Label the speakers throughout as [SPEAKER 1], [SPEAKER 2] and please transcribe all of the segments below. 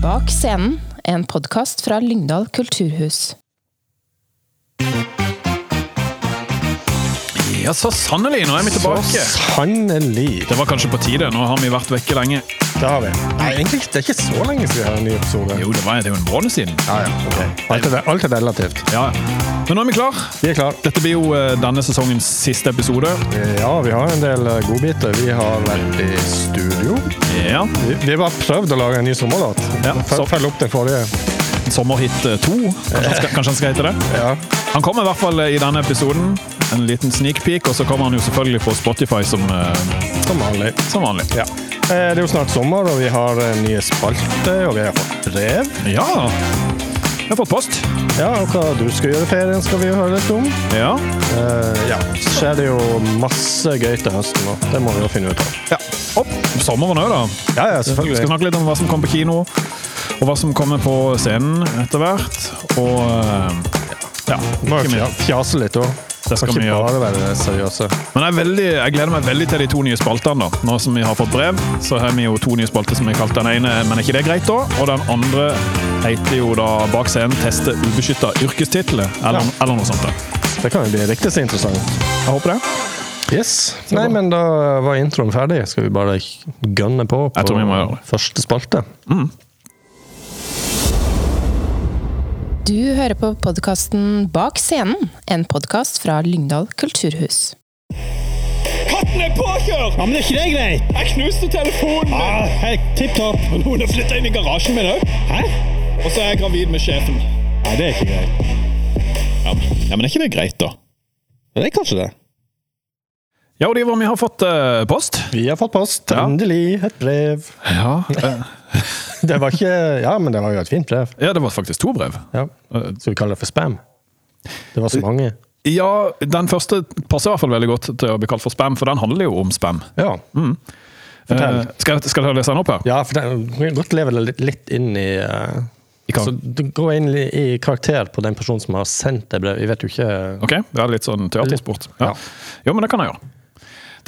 [SPEAKER 1] Bak scenen, en podkast fra Lyngdal kulturhus.
[SPEAKER 2] Ja, så sannelig, nå er vi tilbake.
[SPEAKER 3] Sannelig.
[SPEAKER 2] Det var kanskje på tide, nå har vi vært vekke lenge.
[SPEAKER 3] Det har vi. Nei, egentlig det er ikke så lenge siden vi har en ny episode.
[SPEAKER 2] Jo, det var det er jo en måned siden.
[SPEAKER 3] Ja, ja, ok. Alt er, alt er relativt.
[SPEAKER 2] Ja, Men nå er vi klar.
[SPEAKER 3] Vi er klar.
[SPEAKER 2] Dette blir jo eh, denne sesongens siste episode.
[SPEAKER 3] Ja, vi har en del eh, godbiter. Vi har vært i studio.
[SPEAKER 2] Ja,
[SPEAKER 3] Vi, vi har bare prøvd å lage en ny sommerlåt.
[SPEAKER 2] Ja,
[SPEAKER 3] Følg-
[SPEAKER 2] så-
[SPEAKER 3] Følg opp den forrige.
[SPEAKER 2] Sommerhit eh, 2, kanskje han skal, kanskje han skal hete det.
[SPEAKER 3] Ja.
[SPEAKER 2] Han kommer i hvert fall eh, i denne episoden. En liten sneak peek, og så kommer han jo selvfølgelig på Spotify som, eh,
[SPEAKER 3] Som vanlig.
[SPEAKER 2] som vanlig.
[SPEAKER 3] Ja. Eh, Det er jo snart sommer, og vi har eh, nye spalter, og vi har fått brev.
[SPEAKER 2] Ja, jeg har fått post.
[SPEAKER 3] Ja, og hva du skal gjøre i ferien, skal vi jo høre litt om.
[SPEAKER 2] Ja.
[SPEAKER 3] Eh, Ja, så skjer det jo masse gøy til høsten, og det må vi jo finne ut av.
[SPEAKER 2] ja. Opp sommeren òg, da.
[SPEAKER 3] Ja, ja,
[SPEAKER 2] Vi skal
[SPEAKER 3] selvfølgelig.
[SPEAKER 2] snakke litt om hva som kom på kino, og hva som kommer på scenen etter hvert. Og eh, ja,
[SPEAKER 3] Må
[SPEAKER 2] ikke
[SPEAKER 3] jo
[SPEAKER 2] minst.
[SPEAKER 3] fja- fjase litt òg.
[SPEAKER 2] Det skal
[SPEAKER 3] Kan
[SPEAKER 2] vi
[SPEAKER 3] ikke
[SPEAKER 2] gjøre.
[SPEAKER 3] bare være seriøse.
[SPEAKER 2] Men jeg, er veldig, jeg gleder meg veldig til de to nye spaltene. da. Nå som vi har fått brev, så har vi jo to nye spalter som vi kalte den ene Men er ikke det greit, da? Og den andre heter jo da Bak scenen teste ubeskytta yrkestitler, eller,
[SPEAKER 3] Ja.
[SPEAKER 2] eller noe sånt. da.
[SPEAKER 3] Det kan jo bli riktig så interessant.
[SPEAKER 2] Jeg håper det.
[SPEAKER 3] Yes. Nei, men da var introen ferdig. Skal vi bare gønne på på
[SPEAKER 2] Jeg tror vi må gjøre det.
[SPEAKER 3] første spalte?
[SPEAKER 1] Du hører på podkasten Bak scenen, en podkast fra Lyngdal kulturhus.
[SPEAKER 4] Katten er påkjørt!
[SPEAKER 5] Ja, men er ikke det greit?
[SPEAKER 4] Jeg knuste telefonen min!
[SPEAKER 5] Ja, helt tipp topp.
[SPEAKER 4] Og Noen har flytta inn i garasjen min òg.
[SPEAKER 5] Hæ?
[SPEAKER 4] Og så er jeg gravid med sjefen.
[SPEAKER 5] Nei, det er ikke greit.
[SPEAKER 4] Ja, men, ja, men er ikke det greit, da?
[SPEAKER 5] Det er kanskje det.
[SPEAKER 2] Ja, og Diver, vi har fått eh, post.
[SPEAKER 3] Vi har fått post.
[SPEAKER 2] Ja.
[SPEAKER 3] Endelig et brev.
[SPEAKER 2] Ja. eh,
[SPEAKER 3] Det var ikke Ja, men det var jo et fint brev.
[SPEAKER 2] ja, det var faktisk to brev.
[SPEAKER 3] Ja.
[SPEAKER 2] Eh,
[SPEAKER 3] Skal vi kalle det for spam? Det var så mange.
[SPEAKER 2] Ja, den første passer i hvert fall veldig godt til å bli kalt for spam, for den handler jo om spam.
[SPEAKER 3] Ja. Fortell.
[SPEAKER 2] Eh, skal, jeg- skal jeg lese den opp her?
[SPEAKER 3] Ja, for det, du kan godt leve det litt- litt inn i eh,
[SPEAKER 2] I kar-
[SPEAKER 3] Så du går inn i i karakter på den personen som har sendt det brevet. Vi vet jo ikke
[SPEAKER 2] Ok, det er litt sånn teatersport. Ja.
[SPEAKER 3] Ja.
[SPEAKER 2] Jo, men det kan jeg gjøre.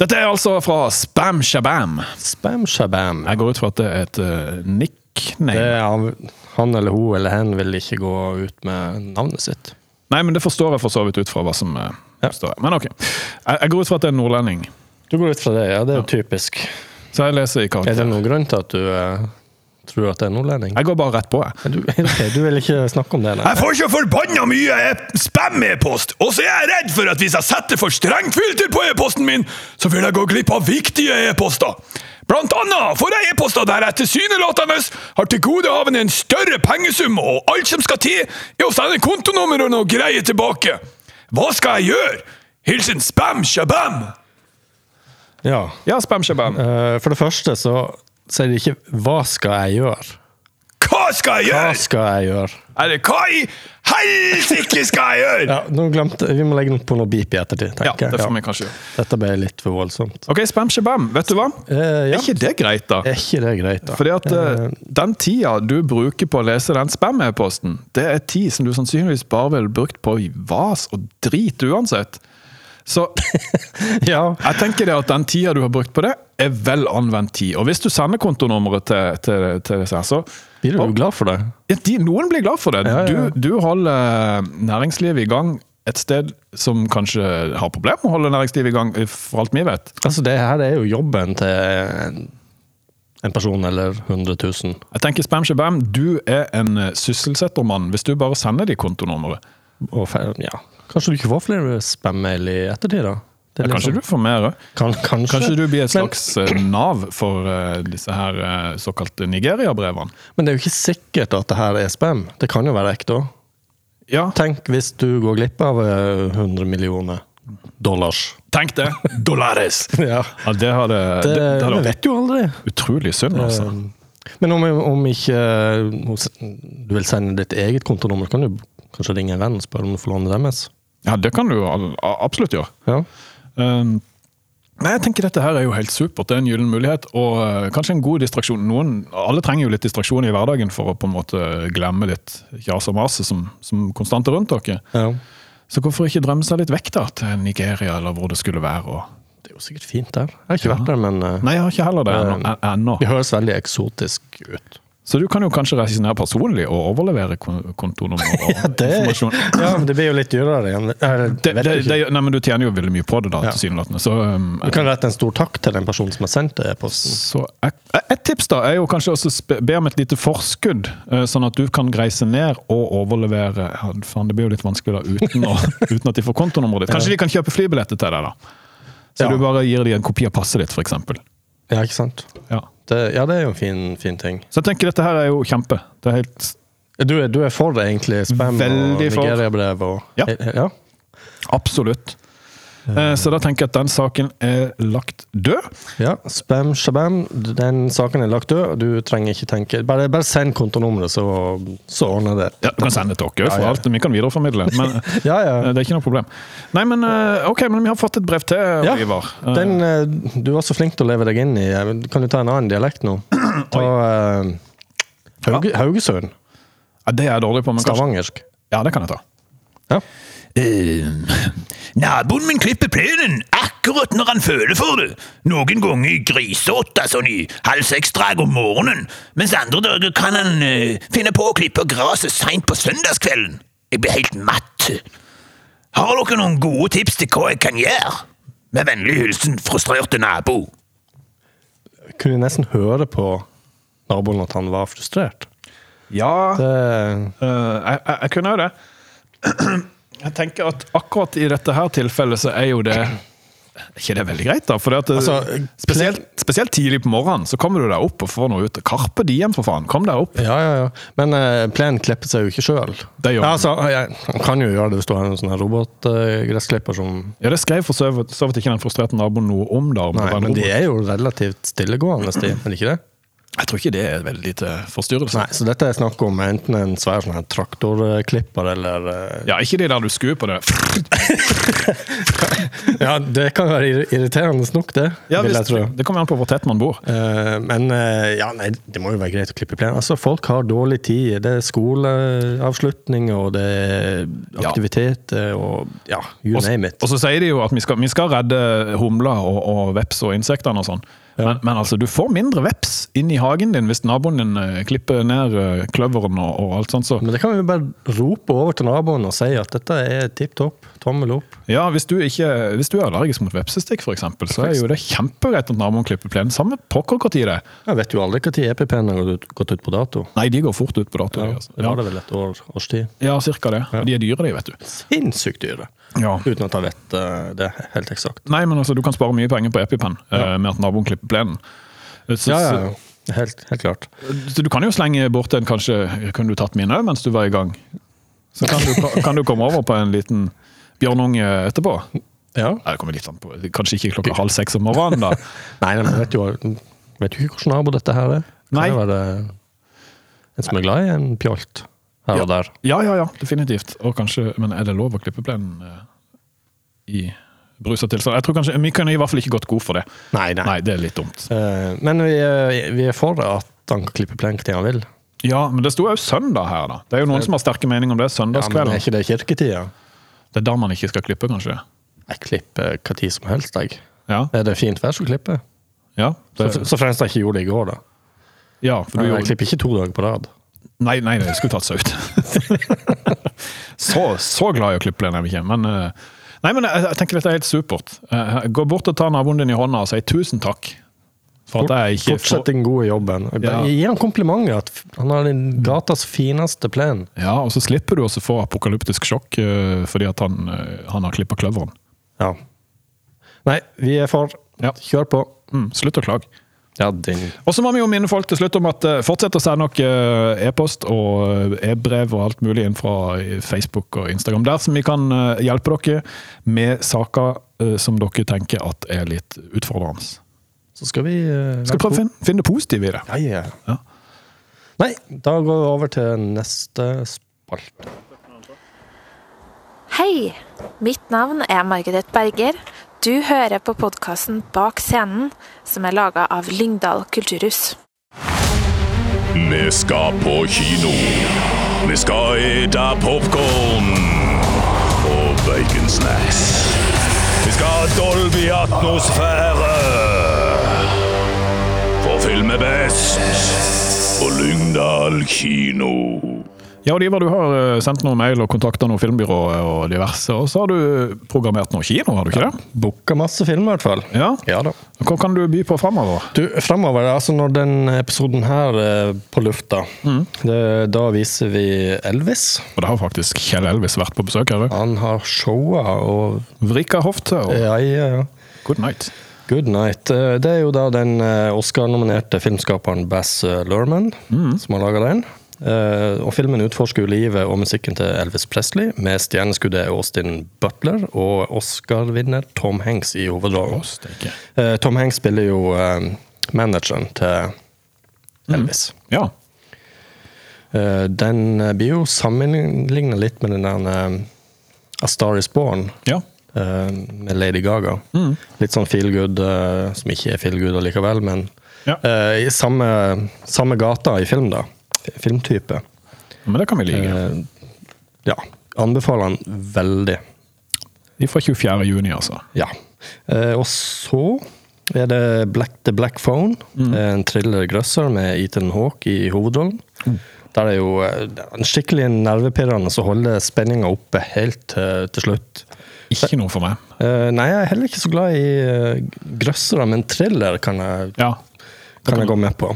[SPEAKER 2] Dette er altså fra Spam Shabam.
[SPEAKER 3] Spam shabam.
[SPEAKER 2] Jeg går ut fra at det er et uh, nickname.
[SPEAKER 3] Det er, han- han eller hun eller hen vil ikke gå ut med navnet sitt.
[SPEAKER 2] Nei, men det forstår jeg for så vidt ut fra hva som eh,
[SPEAKER 3] Ja.
[SPEAKER 2] står her. Men ok. Jeg, jeg går ut fra at det er en nordlending.
[SPEAKER 3] Du går ut fra det, ja. Det er jo typisk.
[SPEAKER 2] Så jeg leser i
[SPEAKER 3] Er
[SPEAKER 2] karakter.
[SPEAKER 3] det noen grunn til at du eh, tror at det er nordlending?
[SPEAKER 2] Jeg går bare rett på, jeg.
[SPEAKER 3] Du, ok, du vil ikke snakke om det? Nei.
[SPEAKER 6] Jeg får så forbanna mye e- spam-e-post, og så er jeg redd for at hvis jeg setter for strengt filter på e-posten min, så vil jeg gå glipp av viktige e-poster. Blant annet får jeg e-poster der jeg tilsynelatende har til gode av en større pengesum, og alt som skal til, er å sende kontonummer og noe greier tilbake. Hva skal jeg gjøre? Hilsen Spam Shabam.
[SPEAKER 3] Ja.
[SPEAKER 2] Ja, Spam Shabam.
[SPEAKER 3] Eh, for det første så sier de ikke 'hva skal jeg gjøre'?
[SPEAKER 6] Hva skal jeg
[SPEAKER 3] Hva
[SPEAKER 6] gjøre?
[SPEAKER 3] skal jeg gjøre?
[SPEAKER 6] Eller hva i helsike skal jeg gjøre?
[SPEAKER 3] Ja, nå glemte Vi må legge den på noe beep i ettertid.
[SPEAKER 2] Ja,
[SPEAKER 3] tenker jeg.
[SPEAKER 2] det får vi
[SPEAKER 3] Ja.
[SPEAKER 2] kanskje gjøre.
[SPEAKER 3] Dette ble litt for voldsomt.
[SPEAKER 2] Ok, Spam Shabam, vet du hva?
[SPEAKER 3] Eh, ja.
[SPEAKER 2] Er
[SPEAKER 3] Eh,
[SPEAKER 2] ikke det greit, da?
[SPEAKER 3] Er ikke det greit, da?
[SPEAKER 2] Fordi at eh, den tida du bruker på å lese den spam-e-posten, det er tid som du sannsynligvis bare ville brukt på vas og drit uansett. Så
[SPEAKER 3] Eh, ja,
[SPEAKER 2] jeg tenker det at den tida du har brukt på det, er vel anvendt tid. Og hvis du sender kontonummeret til, til, til disse her, så
[SPEAKER 3] blir du jo glad for det?
[SPEAKER 2] ja, de, Noen blir glad for det.
[SPEAKER 3] Ja, ja, ja.
[SPEAKER 2] Du, du holder eh, næringslivet i gang et sted som kanskje har problemer med å holde næringslivet i gang, eh, for alt vi vet.
[SPEAKER 3] Altså, det her er jo jobben til en, en person eller 100 000.
[SPEAKER 2] Jeg tenker Spam Shabam, du er en eh, sysselsettermann hvis du bare sender de kontonummeret.
[SPEAKER 3] Og fer, ja. Kanskje du ikke får flere spam-mail i ettertid, da?
[SPEAKER 2] Ja,
[SPEAKER 3] Det er litt
[SPEAKER 2] kanskje
[SPEAKER 3] sånn-
[SPEAKER 2] du får mer òg.
[SPEAKER 3] Kan, kanskje.
[SPEAKER 2] Kanskje du blir et
[SPEAKER 3] Men-
[SPEAKER 2] slags eh, Nav for eh, disse her eh, såkalte Nigeria-brevene?
[SPEAKER 3] Men, det er jo ikke sikkert at det her er spam. Det kan jo være ekte òg.
[SPEAKER 2] Ja,
[SPEAKER 3] Tenk hvis du går glipp av eh, 100 millioner dollars.
[SPEAKER 2] tenk det! Dollares!
[SPEAKER 3] Ja.
[SPEAKER 2] Ja, det hadde, det,
[SPEAKER 3] Det,
[SPEAKER 2] det hadde
[SPEAKER 3] vi
[SPEAKER 2] vært
[SPEAKER 3] vet jo aldri. Um,
[SPEAKER 2] utrolig synd, altså.
[SPEAKER 3] Men om, om ikke eh, hos- du vil sende ditt eget kontonummer, kan du kanskje ringe en venn og spørre om du får låne deres?
[SPEAKER 2] Ja, det kan du jo al- a- absolutt gjøre.
[SPEAKER 3] Ja.
[SPEAKER 2] Um, Nei, jeg tenker Dette her er jo helt supert. Det er en gyllen mulighet. Og eh, kanskje en god distraksjon. Noen, alle trenger jo litt distraksjon i hverdagen for å på en måte glemme litt jas og mas som, som konstant er rundt dere.
[SPEAKER 3] ja.
[SPEAKER 2] Så hvorfor ikke drømme seg litt vekk da, til Nigeria, eller hvor det skulle være? Og
[SPEAKER 3] Det er jo sikkert fint der. Jeg har ikke vært der, men eh,
[SPEAKER 2] Nei, jeg har ikke heller det ennå.
[SPEAKER 3] det høres veldig eksotisk ut.
[SPEAKER 2] Så du kan jo kanskje reise ned personlig og overlevere kon- kontonummer og informasjon.
[SPEAKER 3] Ja, men det blir jo litt dyrere igjen. Eller,
[SPEAKER 2] Det,
[SPEAKER 3] vet
[SPEAKER 2] det,
[SPEAKER 3] jeg ikke.
[SPEAKER 2] det, nei, men du tjener jo veldig mye på det, da,
[SPEAKER 3] Ja.
[SPEAKER 2] tilsynelatende. Så, um,
[SPEAKER 3] Du kan rette en stor takk til den personen som har sendt deg e-posten.
[SPEAKER 2] så et, et tips da er jo kanskje også spe- be om et lite forskudd, eh, sånn at du kan reise ned og overlevere ja, Faen, det blir jo litt vanskelig da, uten, å, uten at de får kontonummeret ditt. Kanskje de kan kjøpe flybilletter til deg, da. Så
[SPEAKER 3] Ja.
[SPEAKER 2] du bare gir dem en kopi av passet ditt, f.eks.
[SPEAKER 3] Ja, ikke sant?
[SPEAKER 2] Ja.
[SPEAKER 3] Det, ja, det er jo en fin, fin ting.
[SPEAKER 2] Så jeg tenker dette her er jo kjempe. Det er helt
[SPEAKER 3] Du er, du er for det, egentlig? Spam og
[SPEAKER 2] Veldig for.
[SPEAKER 3] Nigeria-brev og
[SPEAKER 2] Ja.
[SPEAKER 3] ja.
[SPEAKER 2] Absolutt. Eh, Så da tenker jeg at den saken er lagt død.
[SPEAKER 3] Ja, spam, shabam. Den saken er lagt død. Du trenger ikke tenke. Bare, bare send kontonummeret, så, så ordner det.
[SPEAKER 2] Ja, Du kan sende det til oss, for
[SPEAKER 3] ja.
[SPEAKER 2] alt. vi kan videreformidle. Men eh,
[SPEAKER 3] Ja, ja.
[SPEAKER 2] det er ikke noe problem. Nei, men eh, ok, men vi har fått et brev til,
[SPEAKER 3] ja.
[SPEAKER 2] Ivar. Eh,
[SPEAKER 3] Den, eh, du var så flink til å leve deg inn i eh, men Kan du ta en annen dialekt nå? Ta eh, Hauge, Haugesund.
[SPEAKER 2] ja, det er jeg dårlig på, men kanskje
[SPEAKER 3] Stavangersk.
[SPEAKER 2] Ja, det kan jeg ta.
[SPEAKER 3] Ja.
[SPEAKER 6] Eh, naboen min klipper plenen akkurat når han føler for det. Noen ganger grisåtta sånn i halv seks-drag om morgenen, mens andre dager kan han eh, finne på å klippe gresset seint på søndagskvelden. Jeg blir helt matt. Har dere noen gode tips til hva jeg kan gjøre? Med vennlig hilsen frustrerte nabo.
[SPEAKER 3] Kunne nesten høre på naboen at han var frustrert.
[SPEAKER 2] Ja,
[SPEAKER 3] Det,
[SPEAKER 2] eh, jeg, jeg, jeg kunne jo det. Jeg tenker at akkurat i dette her tilfellet så er jo det ikke det veldig greit, da. For det at, eh,
[SPEAKER 3] Altså,
[SPEAKER 2] spesielt, spesielt tidlig på morgenen så kommer du deg opp og får noe ut. Karpe Diem, for faen! Kom deg opp!
[SPEAKER 3] ja, ja, ja. Men eh, plenen klipper seg jo ikke sjøl.
[SPEAKER 2] Det gjør han.
[SPEAKER 3] altså, jeg- Han kan jo gjøre det hvis du har en sånn her robotgressklipper som
[SPEAKER 2] Ja, Det skrev for så vidt så vidt ikke den frustrerte naboen noe om. da. om det
[SPEAKER 3] Nei,
[SPEAKER 2] var en
[SPEAKER 3] men de
[SPEAKER 2] robot.
[SPEAKER 3] er jo relativt stillegående, de, er de ikke det?
[SPEAKER 2] Jeg tror ikke det er veldig lite forstyrrelse.
[SPEAKER 3] Nei, så dette er snakk om enten en svær sånn her traktorklipper eller eh,
[SPEAKER 2] Ja, Ikke de der du skrur på det.
[SPEAKER 3] Ja, det kan være irri- irriterende nok, det.
[SPEAKER 2] Ja,
[SPEAKER 3] vil jeg
[SPEAKER 2] visst,
[SPEAKER 3] tro.
[SPEAKER 2] Det kommer an på hvor tett man bor.
[SPEAKER 3] Eh, men eh, ja, nei, det må jo være greit å klippe plenen. Altså, folk har dårlig tid. Det er skoleavslutning, og det er
[SPEAKER 2] Ja.
[SPEAKER 3] aktiviteter, og ja, you
[SPEAKER 2] Og,
[SPEAKER 3] name it.
[SPEAKER 2] og så sier de jo at vi skal, vi skal redde humler og, og veps og insektene og sånn. Men, men altså, du får mindre veps inn i hagen din hvis naboen din eh, klipper ned eh, kløveren og, og alt sånt. Så.
[SPEAKER 3] Men det kan vi jo bare rope over til naboen og si at dette er tipp topp. Tommel opp.
[SPEAKER 2] Ja, hvis du, ikke, hvis du er allergisk mot vepsestikk, for eksempel, så er jo det kjempegreit at naboen klipper plenen. Samme pokker hvor tid det er.
[SPEAKER 3] Jeg vet jo aldri når EPP-en har gått ut- gått ut på dato.
[SPEAKER 2] Nei, de går fort ut på dato. de, altså.
[SPEAKER 3] Det var det vel et år, års tid.
[SPEAKER 2] Ja, cirka det. Og de er dyre, de, vet du.
[SPEAKER 3] Sinnssykt dyre. Uten at jeg vet eh, det helt eksakt.
[SPEAKER 2] Nei, men altså, du kan spare mye penger på EpiPen eh, med at naboen klipper plenen. Eh, Så,
[SPEAKER 3] Helt, helt klart.
[SPEAKER 2] Så, så du kan jo slenge bort en kanskje Kunne du tatt min òg mens du var i gang? Så kan du, kan du komme over på en liten bjørnunge etterpå? Nei,
[SPEAKER 3] Ja.
[SPEAKER 2] det kommer litt an på. Kanskje ikke klokka halv seks om morgenen, da.
[SPEAKER 3] Nei, men jeg vet jo vet jo ikke hvilken nabo dette her er. Kan
[SPEAKER 2] Nei.
[SPEAKER 3] det være en som er glad i en pjolt her og der?
[SPEAKER 2] Ja, ja, ja, definitivt. Og kanskje, men er det lov å klippe plenen eh, i brusa tilstand? Jeg tror kanskje, Vi kunne i hvert fall ikke gått god for det.
[SPEAKER 3] Nei, nei.
[SPEAKER 2] Nei, det er litt dumt.
[SPEAKER 3] Eh, men vi, eh, vi er for at han kan klippe plen når han vil.
[SPEAKER 2] Ja, men det sto jo søndag her, da. Det er jo noen som har sterke meninger om det.
[SPEAKER 3] Ja, men
[SPEAKER 2] Søndagskvelden.
[SPEAKER 3] er ikke det kirketida?
[SPEAKER 2] Det er da man ikke skal klippe, kanskje?
[SPEAKER 3] Jeg klipper hva tid som helst, jeg.
[SPEAKER 2] Ja,
[SPEAKER 3] Er det fint vær, så klipper jeg.
[SPEAKER 2] ja,
[SPEAKER 3] Så,
[SPEAKER 2] det,
[SPEAKER 3] så fremst jeg ikke gjorde det i går, da.
[SPEAKER 2] ja for du
[SPEAKER 3] Jeg
[SPEAKER 2] gjorde
[SPEAKER 3] klipper ikke to dager på rad.
[SPEAKER 2] Nei, nei, det skulle tatt seg ut. så, så glad i å klippe den er vi ikke, men eh, Nei, men jeg, jeg tenker dette er helt supert. Eh, Gå bort og ta naboen din i hånda og si tusen takk. For at jeg ikke
[SPEAKER 3] Fortsett den gode jobben. Jeg bare-
[SPEAKER 2] Ja.
[SPEAKER 3] Gi ham komplimenter. At f- han har den gatas fineste plen.
[SPEAKER 2] Ja, og så slipper du også få apokalyptisk sjokk eh, fordi at han, eh, han har klippa kløveren.
[SPEAKER 3] Ja. Nei, vi er for.
[SPEAKER 2] Ja.
[SPEAKER 3] Kjør på.
[SPEAKER 2] Mm, slutt å klage.
[SPEAKER 3] Ja, din.
[SPEAKER 2] Og så må vi jo minne folk til slutt om at eh, fortsett å sende dere eh, e-post og eh, e-brev og alt mulig inn fra eh, Facebook og Instagram der, som vi kan eh, hjelpe dere med saker eh, som dere tenker at er litt utfordrende.
[SPEAKER 3] Så skal vi eh,
[SPEAKER 2] Skal prøve å finne, finne det positive i det.
[SPEAKER 3] Ja, ja.
[SPEAKER 2] Ja.
[SPEAKER 3] Nei, da går vi over til neste spalte.
[SPEAKER 7] Hei! Mitt navn er Margaret Berger. Du hører på podkasten Bak scenen, som er laga av Lyngdal kulturhus.
[SPEAKER 8] Vi skal på kino. Vi skal ete popkorn og baconsnacks. Vi skal ha Dolby atmosfære. For film er best. på Lyngdal kino.
[SPEAKER 2] Ja, og Ivar, du har eh, sendt noen mail og kontakta noen filmbyrå og diverse. Og så har du programmert noe kino, har du ikke det?
[SPEAKER 3] Booka masse film, i hvert fall.
[SPEAKER 2] Ja.
[SPEAKER 3] Ja da.
[SPEAKER 2] Hva kan du by på framover?
[SPEAKER 3] Du, fremover, altså når den episoden her er på lufta, det, da viser vi Elvis.
[SPEAKER 2] Og det har faktisk Kjell Elvis vært på besøk her.
[SPEAKER 3] Han har showa og
[SPEAKER 2] Vrika hofte og
[SPEAKER 3] Ja, ja, ja.
[SPEAKER 2] good night.
[SPEAKER 3] Good Night. Eh, Det er jo da den eh, Oscar-nominerte filmskaperen Bass eh, Lerman
[SPEAKER 2] Mm.
[SPEAKER 3] som har laga den. Eh, Og filmen utforsker jo livet og musikken til Elvis Presley med stjerneskuddet Austin Butler og Oscar-vinner Tom Hanks i hovedrollen.
[SPEAKER 2] Steike.
[SPEAKER 3] Eh, Tom Hanks spiller jo eh, manageren til
[SPEAKER 2] Mm.
[SPEAKER 3] Elvis.
[SPEAKER 2] Ja.
[SPEAKER 3] Eh, Den eh, blir jo sammenligna litt med den der eh, A Star Is Born
[SPEAKER 2] ja.
[SPEAKER 3] eh, med Lady Gaga. Litt sånn feel good, eh, som ikke er feel good allikevel, men
[SPEAKER 2] Ja.
[SPEAKER 3] eh, i samme, samme gata i film, da. F- Filmtype.
[SPEAKER 2] Men det kan vi like.
[SPEAKER 3] Eh, ja. Anbefaler han veldig.
[SPEAKER 2] De fra 24. juni, altså.
[SPEAKER 3] Ja. Eh, og så er det Black The Black Phone, Eh, en thriller-grøsser med Ethan Hawke i hovedrollen. Der er jo eh, en skikkelig nervepirrende som holder spenninga oppe helt til, til slutt.
[SPEAKER 2] Ikke noe for meg.
[SPEAKER 3] Eh, nei, jeg er heller ikke så glad i uh, grøssere, men thriller kan jeg,
[SPEAKER 2] Ja.
[SPEAKER 3] kan jeg gå med på.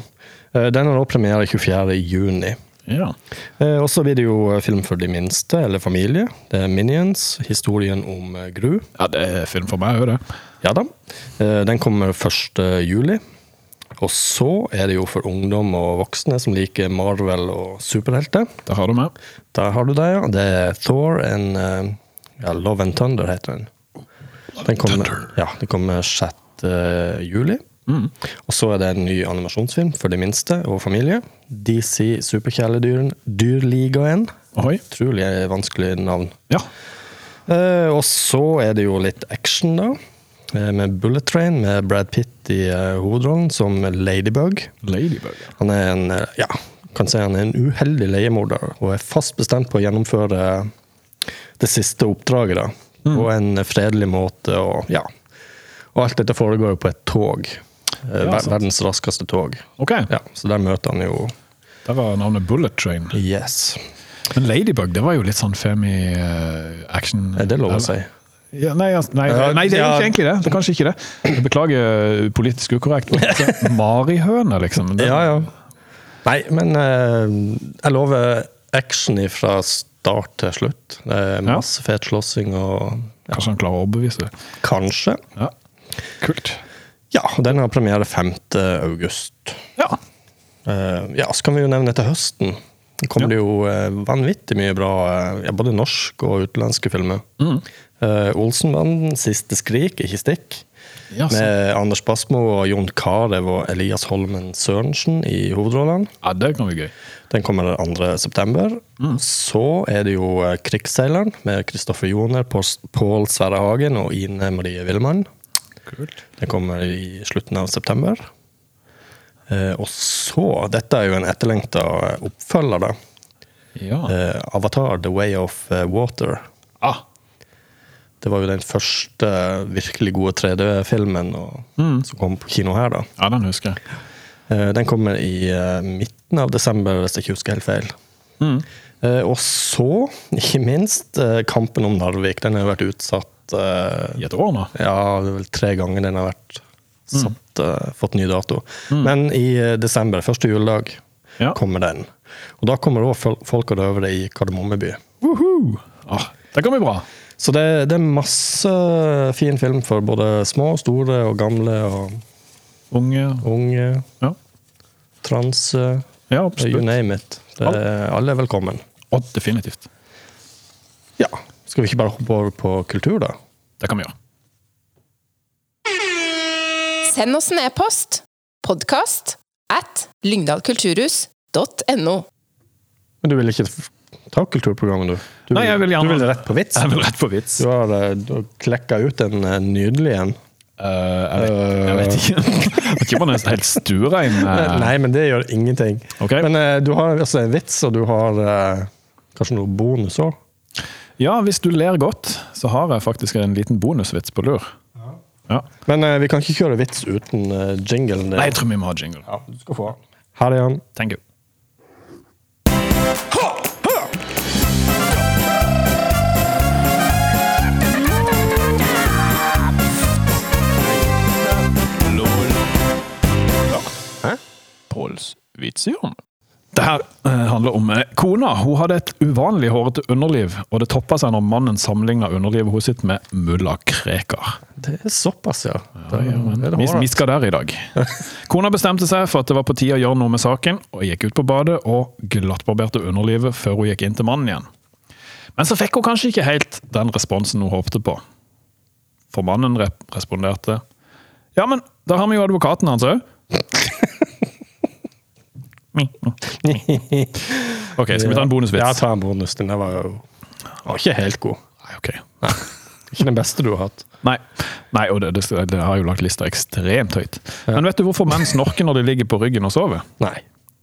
[SPEAKER 3] Eh, den har også premiere 24. juni.
[SPEAKER 2] ja.
[SPEAKER 3] Eh, og så blir det jo eh, film for de minste, eller familie. Det er Minions, historien om eh, Gru.
[SPEAKER 2] Ja, det er film for meg òg, det.
[SPEAKER 3] Ja da. Eh, Den kommer 1. juli. Og så er det jo for ungdom og voksne som liker Marvel og superhelter.
[SPEAKER 2] Der har du meg.
[SPEAKER 3] Der har du det, ja. Det er Thor and eh, ja, Love and Thunder, heter den. Den kommer, ja, den kommer 6. juli. Og så er det en ny animasjonsfilm for de minste og familie. DC Superkjæledyren Dyrligaen.
[SPEAKER 2] Ohoi.
[SPEAKER 3] Utrolig vanskelig navn.
[SPEAKER 2] Ja.
[SPEAKER 3] Eh, og så er det jo litt action, da. Eh, med Bullet Train, med Brad Pitt i eh, hovedrollen som Ladybug.
[SPEAKER 2] Ladybug. ja.
[SPEAKER 3] Han er en, eh, ja, kan si han er en uheldig leiemorder, og er fast bestemt på å gjennomføre det siste oppdraget, da. På en fredelig måte, og ja. Og alt dette foregår jo på et tog. Eh,
[SPEAKER 2] Ja,
[SPEAKER 3] ver-
[SPEAKER 2] sant.
[SPEAKER 3] verdens raskeste tog.
[SPEAKER 2] Ok,
[SPEAKER 3] Ja, så der møter han jo
[SPEAKER 2] der var navnet Bullet Train.
[SPEAKER 3] Yes.
[SPEAKER 2] Men Ladybug det var jo litt sånn femi-action.
[SPEAKER 3] Er det lov å si?
[SPEAKER 2] Ja, nei, altså, nei,
[SPEAKER 3] Ja,
[SPEAKER 2] nei, det er jo
[SPEAKER 3] ja.
[SPEAKER 2] ikke egentlig det. det er kanskje ikke det. Jeg beklager eh, politisk ukorrekt. men altså, Marihøne, liksom. Det,
[SPEAKER 3] Ja, ja. Nei, men eh, jeg lover action fra start til slutt. Det er masse fet slåssing og ja,
[SPEAKER 2] Kanskje han klarer å overbevise det.
[SPEAKER 3] kanskje.
[SPEAKER 2] Ja. Kult.
[SPEAKER 3] Ja, og den har premiere 5. august.
[SPEAKER 2] Ja.
[SPEAKER 3] Eh, ja, så kan vi jo nevne til høsten. Det kommer det jo eh, vanvittig mye bra, eh, ja, både norsk og utenlandske filmer. Mm. Olsenbanden, Siste skrik, ikke stikk.
[SPEAKER 2] Ja, så-
[SPEAKER 3] Med Anders Basmo og Jon Carew og Elias Holmen Sørensen i hovedrollene.
[SPEAKER 2] ja, det kan bli gøy.
[SPEAKER 3] Den kommer 2. september. Så er det jo eh, Krigsseileren med Kristoffer Joner, Pål- Pål Sverre Hagen og Ine Marie Villemann.
[SPEAKER 2] Kult.
[SPEAKER 3] Den kommer i slutten av september. Eh, og så Dette er jo en etterlengta oppfølger, da.
[SPEAKER 2] Ja.
[SPEAKER 3] Eh, Avatar The Way of eh, Water.
[SPEAKER 2] Ah,
[SPEAKER 3] Det var jo den første eh, virkelig gode 3D-filmen og, som kom på kino her, da.
[SPEAKER 2] ja, den husker jeg.
[SPEAKER 3] Eh, Den kommer i eh, midten av desember, hvis jeg ikke husker helt feil.
[SPEAKER 2] Mm.
[SPEAKER 3] Eh, Og så, ikke minst, eh, kampen om Narvik. Den har jo vært utsatt eh,
[SPEAKER 2] I et år nå.
[SPEAKER 3] ja, det er vel tre ganger den har vært
[SPEAKER 2] Mm.
[SPEAKER 3] satt, eh, fått ny dato. Men i eh, desember, første juledag,
[SPEAKER 2] Ja.
[SPEAKER 3] kommer den. Og da kommer òg folk og røvere i Kardemommeby.
[SPEAKER 2] Woohoo! Ah, det kan bli bra.
[SPEAKER 3] Så det, det er masse fin film for både små, store og gamle og
[SPEAKER 2] Unge
[SPEAKER 3] unge.
[SPEAKER 2] Ja,
[SPEAKER 3] Trans
[SPEAKER 2] ja
[SPEAKER 3] You
[SPEAKER 2] absolutt.
[SPEAKER 3] name it. Det, er- alle er velkommen.
[SPEAKER 2] Og definitivt.
[SPEAKER 3] Ja. Skal vi ikke bare hoppe over på kultur, da?
[SPEAKER 2] Det kan vi gjøre.
[SPEAKER 1] Send oss en e-post. Podkast at lyngdalkulturhus.no.
[SPEAKER 3] Men du vil ikke f- ta kulturprogrammet, du? du
[SPEAKER 2] Nei, jeg vil gjerne-
[SPEAKER 3] Du vil rett på vits?
[SPEAKER 2] Jeg vil rett på vits.
[SPEAKER 3] Du har, eh, du har klekka ut en eh, nydelig en.
[SPEAKER 2] Eh, jeg, vet, jeg vet ikke. Jeg vet ikke om han er helt stuerein. eh.
[SPEAKER 3] Nei, men det gjør ingenting.
[SPEAKER 2] Ok.
[SPEAKER 3] Men eh, du har altså en vits, og du har eh, kanskje noe bonus òg.
[SPEAKER 2] Ja, hvis du ler godt, så har jeg faktisk en liten bonusvits på lur. Ja.
[SPEAKER 3] Men eh, vi kan ikke kjøre vits uten eh, jinglen. din.
[SPEAKER 2] Nei, jeg tror vi må ha jingle.
[SPEAKER 3] Ja, du skal få den. Her er han.
[SPEAKER 2] Thank you. vits i om. Det her eh, handler om eh, kona. Hun hadde et uvanlig hårete underliv, og det toppa seg når mannen sammenligna underlivet hun sitt med mulla Krekar.
[SPEAKER 3] Det er såpass, ja. Da er det
[SPEAKER 2] Vi,
[SPEAKER 3] håret.
[SPEAKER 2] vi skal der i dag. Kona bestemte seg for at det var på tide å gjøre noe med saken, og gikk ut på badet og glattbarberte underlivet før hun gikk inn til mannen igjen. Men så fikk hun kanskje ikke helt den responsen hun håpte på. For mannen rep responderte Ja, men da har vi jo advokaten hans òg. Ok, skal vi ta en bonusvits?
[SPEAKER 3] Ja, ta en bonus. Den der var jo var ikke helt god.
[SPEAKER 2] Nei, ok.
[SPEAKER 3] Ikke den beste du har hatt.
[SPEAKER 2] Nei, Nei og det, det, det har jo lagt lista ekstremt høyt. Men vet du hvorfor menn snorker når de ligger på ryggen og sover?
[SPEAKER 3] Nei.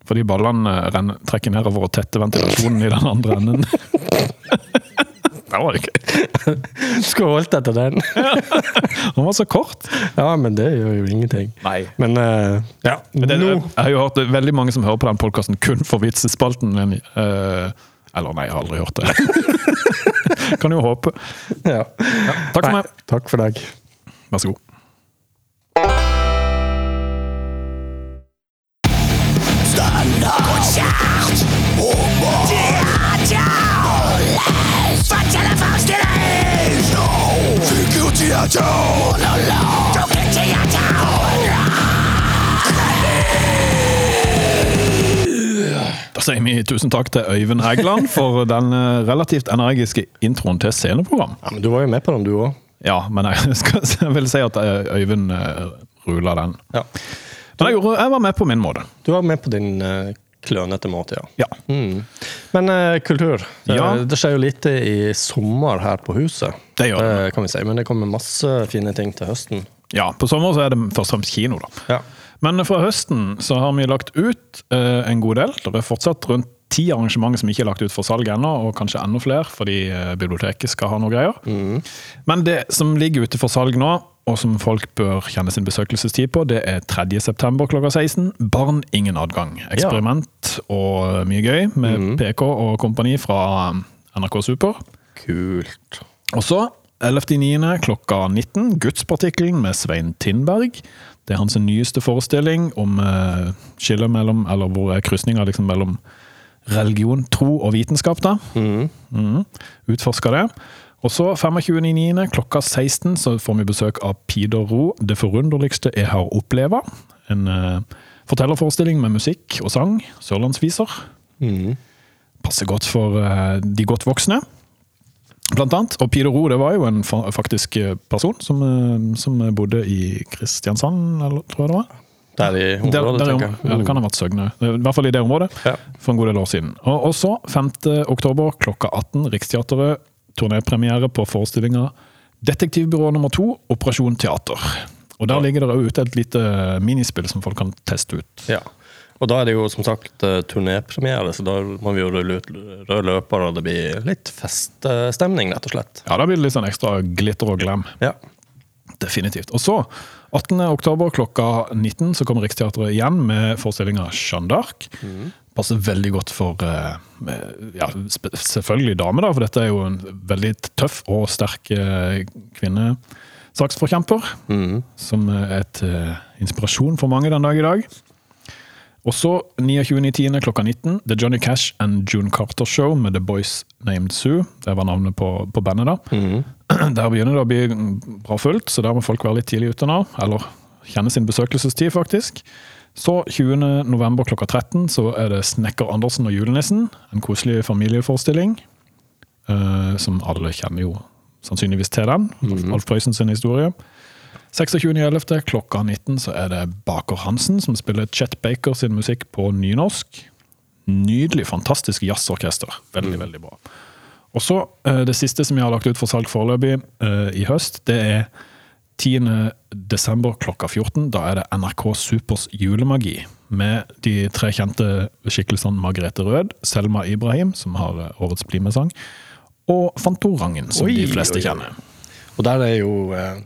[SPEAKER 2] Fordi ballene renner, trekker nedover og tetter ventilasjonen i den andre enden. det var ikke
[SPEAKER 3] Skulle holdt etter den.
[SPEAKER 2] Den var så kort!
[SPEAKER 3] Ja, men det gjør jo ingenting.
[SPEAKER 2] Nei.
[SPEAKER 3] Men eh, ja,
[SPEAKER 2] Det,
[SPEAKER 3] nå
[SPEAKER 2] jeg har jo hørt det, veldig mange som hører på den podkasten kun for vitsespalten. Men, eh, eller nei, jeg har aldri hørt det. kan jo håpe.
[SPEAKER 3] ja.
[SPEAKER 2] Takk for
[SPEAKER 3] Nei,
[SPEAKER 2] meg.
[SPEAKER 3] takk for deg.
[SPEAKER 2] Vær så god. Da sier vi tusen takk til Øyvind Hægeland for den eh, relativt energiske introen til sceneprogram.
[SPEAKER 3] Ja, men du var jo med på den, du òg.
[SPEAKER 2] Ja, men jeg, skal, jeg vil si at eh, Øyvind eh, ruler den.
[SPEAKER 3] Ja.
[SPEAKER 2] Men jeg, gjorde, jeg var med på min måte.
[SPEAKER 3] Du var med på din eh, klønete måte, ja.
[SPEAKER 2] Ja.
[SPEAKER 3] Mm. Men eh, kultur.
[SPEAKER 2] Ja.
[SPEAKER 3] Eh, Det skjer jo lite i sommer her på huset.
[SPEAKER 2] Det gjør det.
[SPEAKER 3] Eh, kan vi si. Men det kommer masse fine ting til høsten.
[SPEAKER 2] ja, På sommer så er det først og fremst kino, da.
[SPEAKER 3] Ja.
[SPEAKER 2] Men fra høsten så har vi lagt ut eh, en god del. Det er fortsatt rundt ti arrangementer som ikke er lagt ut for salg ennå, og kanskje enda flere fordi eh, biblioteket skal ha noe greier. Men det som ligger ute for salg nå, og som folk bør kjenne sin besøkelsestid på, det er 3. september klokka 16. Barn ingen adgang. Eksperiment og eh, mye gøy med PK og kompani fra eh, NRK Super.
[SPEAKER 3] Kult.
[SPEAKER 2] Og så 11.9. klokka 19. Gudspartikkelen med Svein Tindberg. Det er hans nyeste forestilling om eh, skillet mellom, eller hvor er krysninga liksom mellom religion, tro og vitenskap, da. Mhm. Utforsker det. Og så 25.9. klokka 16 så får vi besøk av Pidor Ro, 'Det forunderligste jeg har oppleva'. En eh, fortellerforestilling med musikk og sang. Sørlandsviser. Passer godt for eh, de godt voksne. Blant annet. Og Pidor Ro det var jo en fa faktisk eh, person som, eh, som bodde i Kristiansand, eller, tror jeg det var.
[SPEAKER 3] Der i
[SPEAKER 2] Der, der,
[SPEAKER 3] området,
[SPEAKER 2] i
[SPEAKER 3] tenker
[SPEAKER 2] om-
[SPEAKER 3] jeg. Mm.
[SPEAKER 2] ja, det kan ha vært Søgne. I hvert fall i det området.
[SPEAKER 3] Ja.
[SPEAKER 2] For en god del år siden. Og, og så, 5. oktober klokka 18, Riksteatret. Turnépremiere på forestillinga 'Detektivbyrå nummer to', Operasjon Teater. Og Der ligger det også ute et lite minispill som folk kan teste ut.
[SPEAKER 3] Ja. Og da er det jo som sagt eh, turnépremiere, så da må vi jo rulle ut rød løper, og det blir litt feststemning, rett og slett.
[SPEAKER 2] Ja, Da blir det litt sånn ekstra glitter og glam.
[SPEAKER 3] Ja.
[SPEAKER 2] Definitivt. Og så, 18. oktober klokka 19, så kommer Riksteatret igjen med forestillinga Jeanne d'Arc. Passer veldig godt for eh, med- ja, sp- selvfølgelig damer, da, for dette er jo en veldig tøff og sterk eh, kvinnesaksforkjemper. Som er et eh, inspirasjon for mange den dag i dag. Og så 29.10. klokka 19, The Johnny Cash and June Carter Show med The Boys Named Sue. Det var navnet på, på bandet, da. Der begynner det å bli bra fullt, så der må folk være litt tidlig ute nå. Eller kjenne sin besøkelsestid, faktisk. Så 20. november klokka 13 så er det Snekker Andersen og julenissen. En koselig familieforestilling. eh, som alle kjenner jo sannsynligvis til den. Alf Prøysen sin historie. 26.11. klokka 19 så er det Baker Hansen som spiller Chet Baker sin musikk på nynorsk. Nydelig, fantastisk jazzorkester. Veldig, veldig bra. Og så eh, det siste som jeg har lagt ut for salg foreløpig eh, i høst, det er 10. desember klokka 14. Da er det NRK Supers julemagi med de tre kjente skikkelsene Margrethe Rød, Selma Ibrahim, som har eh, årets BlimE-sang, og Fantorangen, som
[SPEAKER 3] Oi,
[SPEAKER 2] de fleste
[SPEAKER 3] oi, oi.
[SPEAKER 2] kjenner.
[SPEAKER 3] Og der er jo eh,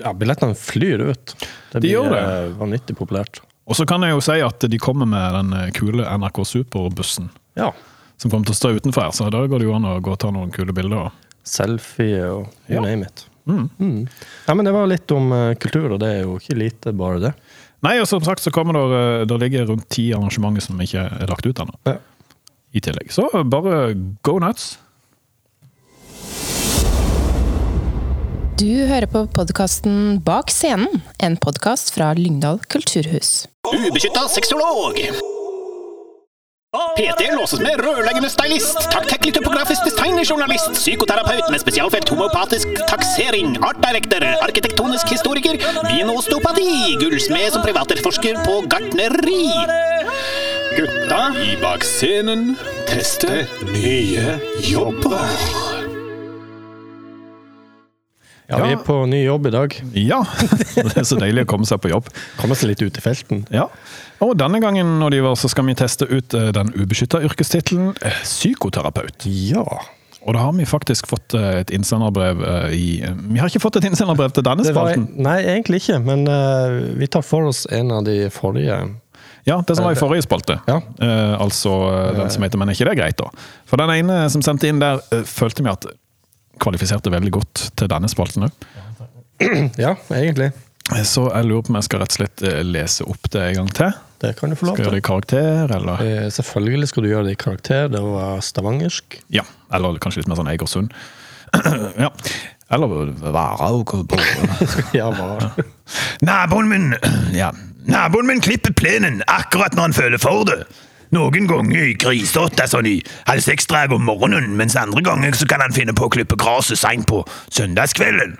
[SPEAKER 3] ja, Billettene flyr ut. Det
[SPEAKER 2] De gjør det.
[SPEAKER 3] eh, vanvittig populært.
[SPEAKER 2] Og så kan jeg jo si at de kommer med den eh, kule NRK Super-bussen
[SPEAKER 3] Ja.
[SPEAKER 2] som kommer til å stå utenfor her, så da går det jo an å gå og ta noen kule bilder.
[SPEAKER 3] Selfie og you Mm.
[SPEAKER 2] Ja.
[SPEAKER 3] name it. Mm. Ja, men det var litt om eh, kultur, og det er jo ikke lite, bare det.
[SPEAKER 2] Nei, og som sagt så kommer det, eh, det ligger rundt ti arrangementer som ikke er lagt ut ennå.
[SPEAKER 3] Ja.
[SPEAKER 2] I tillegg. Så bare go nuts.
[SPEAKER 1] Du hører på podkasten Bak scenen, en podkast fra Lyngdal kulturhus.
[SPEAKER 9] Ubeskytta sexolog. PT låses med rørleggende stylist, taktekkelig topografisk designerjournalist, psykoterapeut med spesialfelt homopatisk taksering, artdirektor, arkitektonisk historiker, vinostopati, gullsmed som privaterforsker på gartneri. Gutta i bak scenen tester nye jobber.
[SPEAKER 3] Ja, vi er på ny jobb i dag.
[SPEAKER 2] Ja! Det er så deilig å komme seg på jobb.
[SPEAKER 3] Komme seg litt ut i felten.
[SPEAKER 2] Ja. Og denne gangen Oliver, så skal vi teste ut eh, den ubeskytta yrkestittelen eh, psykoterapeut.
[SPEAKER 3] Ja.
[SPEAKER 2] Og da har vi faktisk fått eh, et innsenderbrev eh, i eh, Vi har ikke fått et innsenderbrev til denne
[SPEAKER 3] Det var,
[SPEAKER 2] spalten.
[SPEAKER 3] nei, egentlig ikke, men eh, vi tar for oss en av de forrige.
[SPEAKER 2] Ja, det som var i forrige spalte.
[SPEAKER 3] Ja.
[SPEAKER 2] Eh, altså eh, den som heter 'Men er ikke det greit', da. For den ene som sendte inn der, eh, følte vi at kvalifiserte veldig godt til denne spalten òg.
[SPEAKER 3] mm, Ja, egentlig.
[SPEAKER 2] Så jeg lurer på om jeg skal rett og slett eh, lese opp det en gang til.
[SPEAKER 3] Det kan du få lov
[SPEAKER 2] Skal jeg
[SPEAKER 3] til.
[SPEAKER 2] gjøre det i karakter, eller
[SPEAKER 3] Eh, Selvfølgelig skal du gjøre det i karakter. Det var stavangersk.
[SPEAKER 2] Ja, eller kanskje litt mer sånn Egersund. ja. Eller Nei,
[SPEAKER 3] Ja, var.
[SPEAKER 6] Naboen min ja. Naboen min klipper plenen akkurat når han føler for det. Noen ganger i grisete sånn i halv seks-draget om morgenen, mens andre ganger så kan han finne på å klippe gresset seint på søndagskvelden.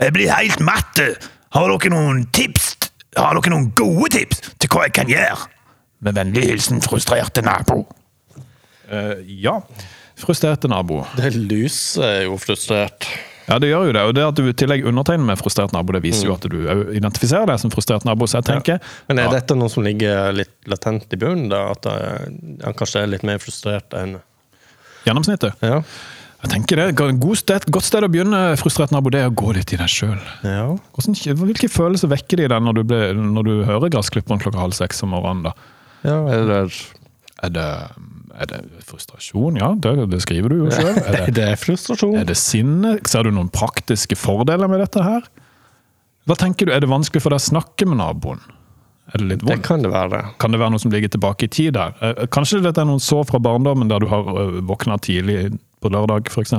[SPEAKER 6] Jeg blir helt matt. Har dere noen tips? Har dere noen gode tips til hva jeg kan gjøre? Med vennlig hilsen frustrerte nabo.
[SPEAKER 2] Eh, ja. Frustrerte nabo.
[SPEAKER 3] Det lyset er jo frustrert.
[SPEAKER 2] Ja, det gjør jo det. Og det at du i tillegg undertegner med frustrert nabo, det viser jo at du au- identifiserer deg som frustrert nabo. Så jeg tenker
[SPEAKER 3] Men er
[SPEAKER 2] Mm. ja,
[SPEAKER 3] dette noe som ligger litt latent i bunnen? da? At eh, han kanskje er litt mer frustrert enn
[SPEAKER 2] gjennomsnittet.
[SPEAKER 3] Ja.
[SPEAKER 2] Jeg tenker det. er et God sted, godt sted å begynne, frustrert nabo, det er å gå litt i deg sjøl.
[SPEAKER 3] ja.
[SPEAKER 2] Hvilke følelser vekker det i deg når du, ble, når du hører gressklipperen klokka halv seks om morgenen? da?
[SPEAKER 3] ja eller
[SPEAKER 2] Er det, er det frustrasjon? Ja, det, det skriver du jo sjøl. Er det
[SPEAKER 3] Det er frustrasjon.
[SPEAKER 2] Er det sinne? Ser du noen praktiske fordeler med dette her? Hva tenker du, Er det vanskelig for deg å snakke med naboen? Er det litt
[SPEAKER 3] Det
[SPEAKER 2] vondt?
[SPEAKER 3] kan det være.
[SPEAKER 2] Kan det være noe som ligger tilbake i tid der? Eh, Kanskje dette er noen sår fra barndommen, der du har eh, våkna tidlig på lørdag f.eks.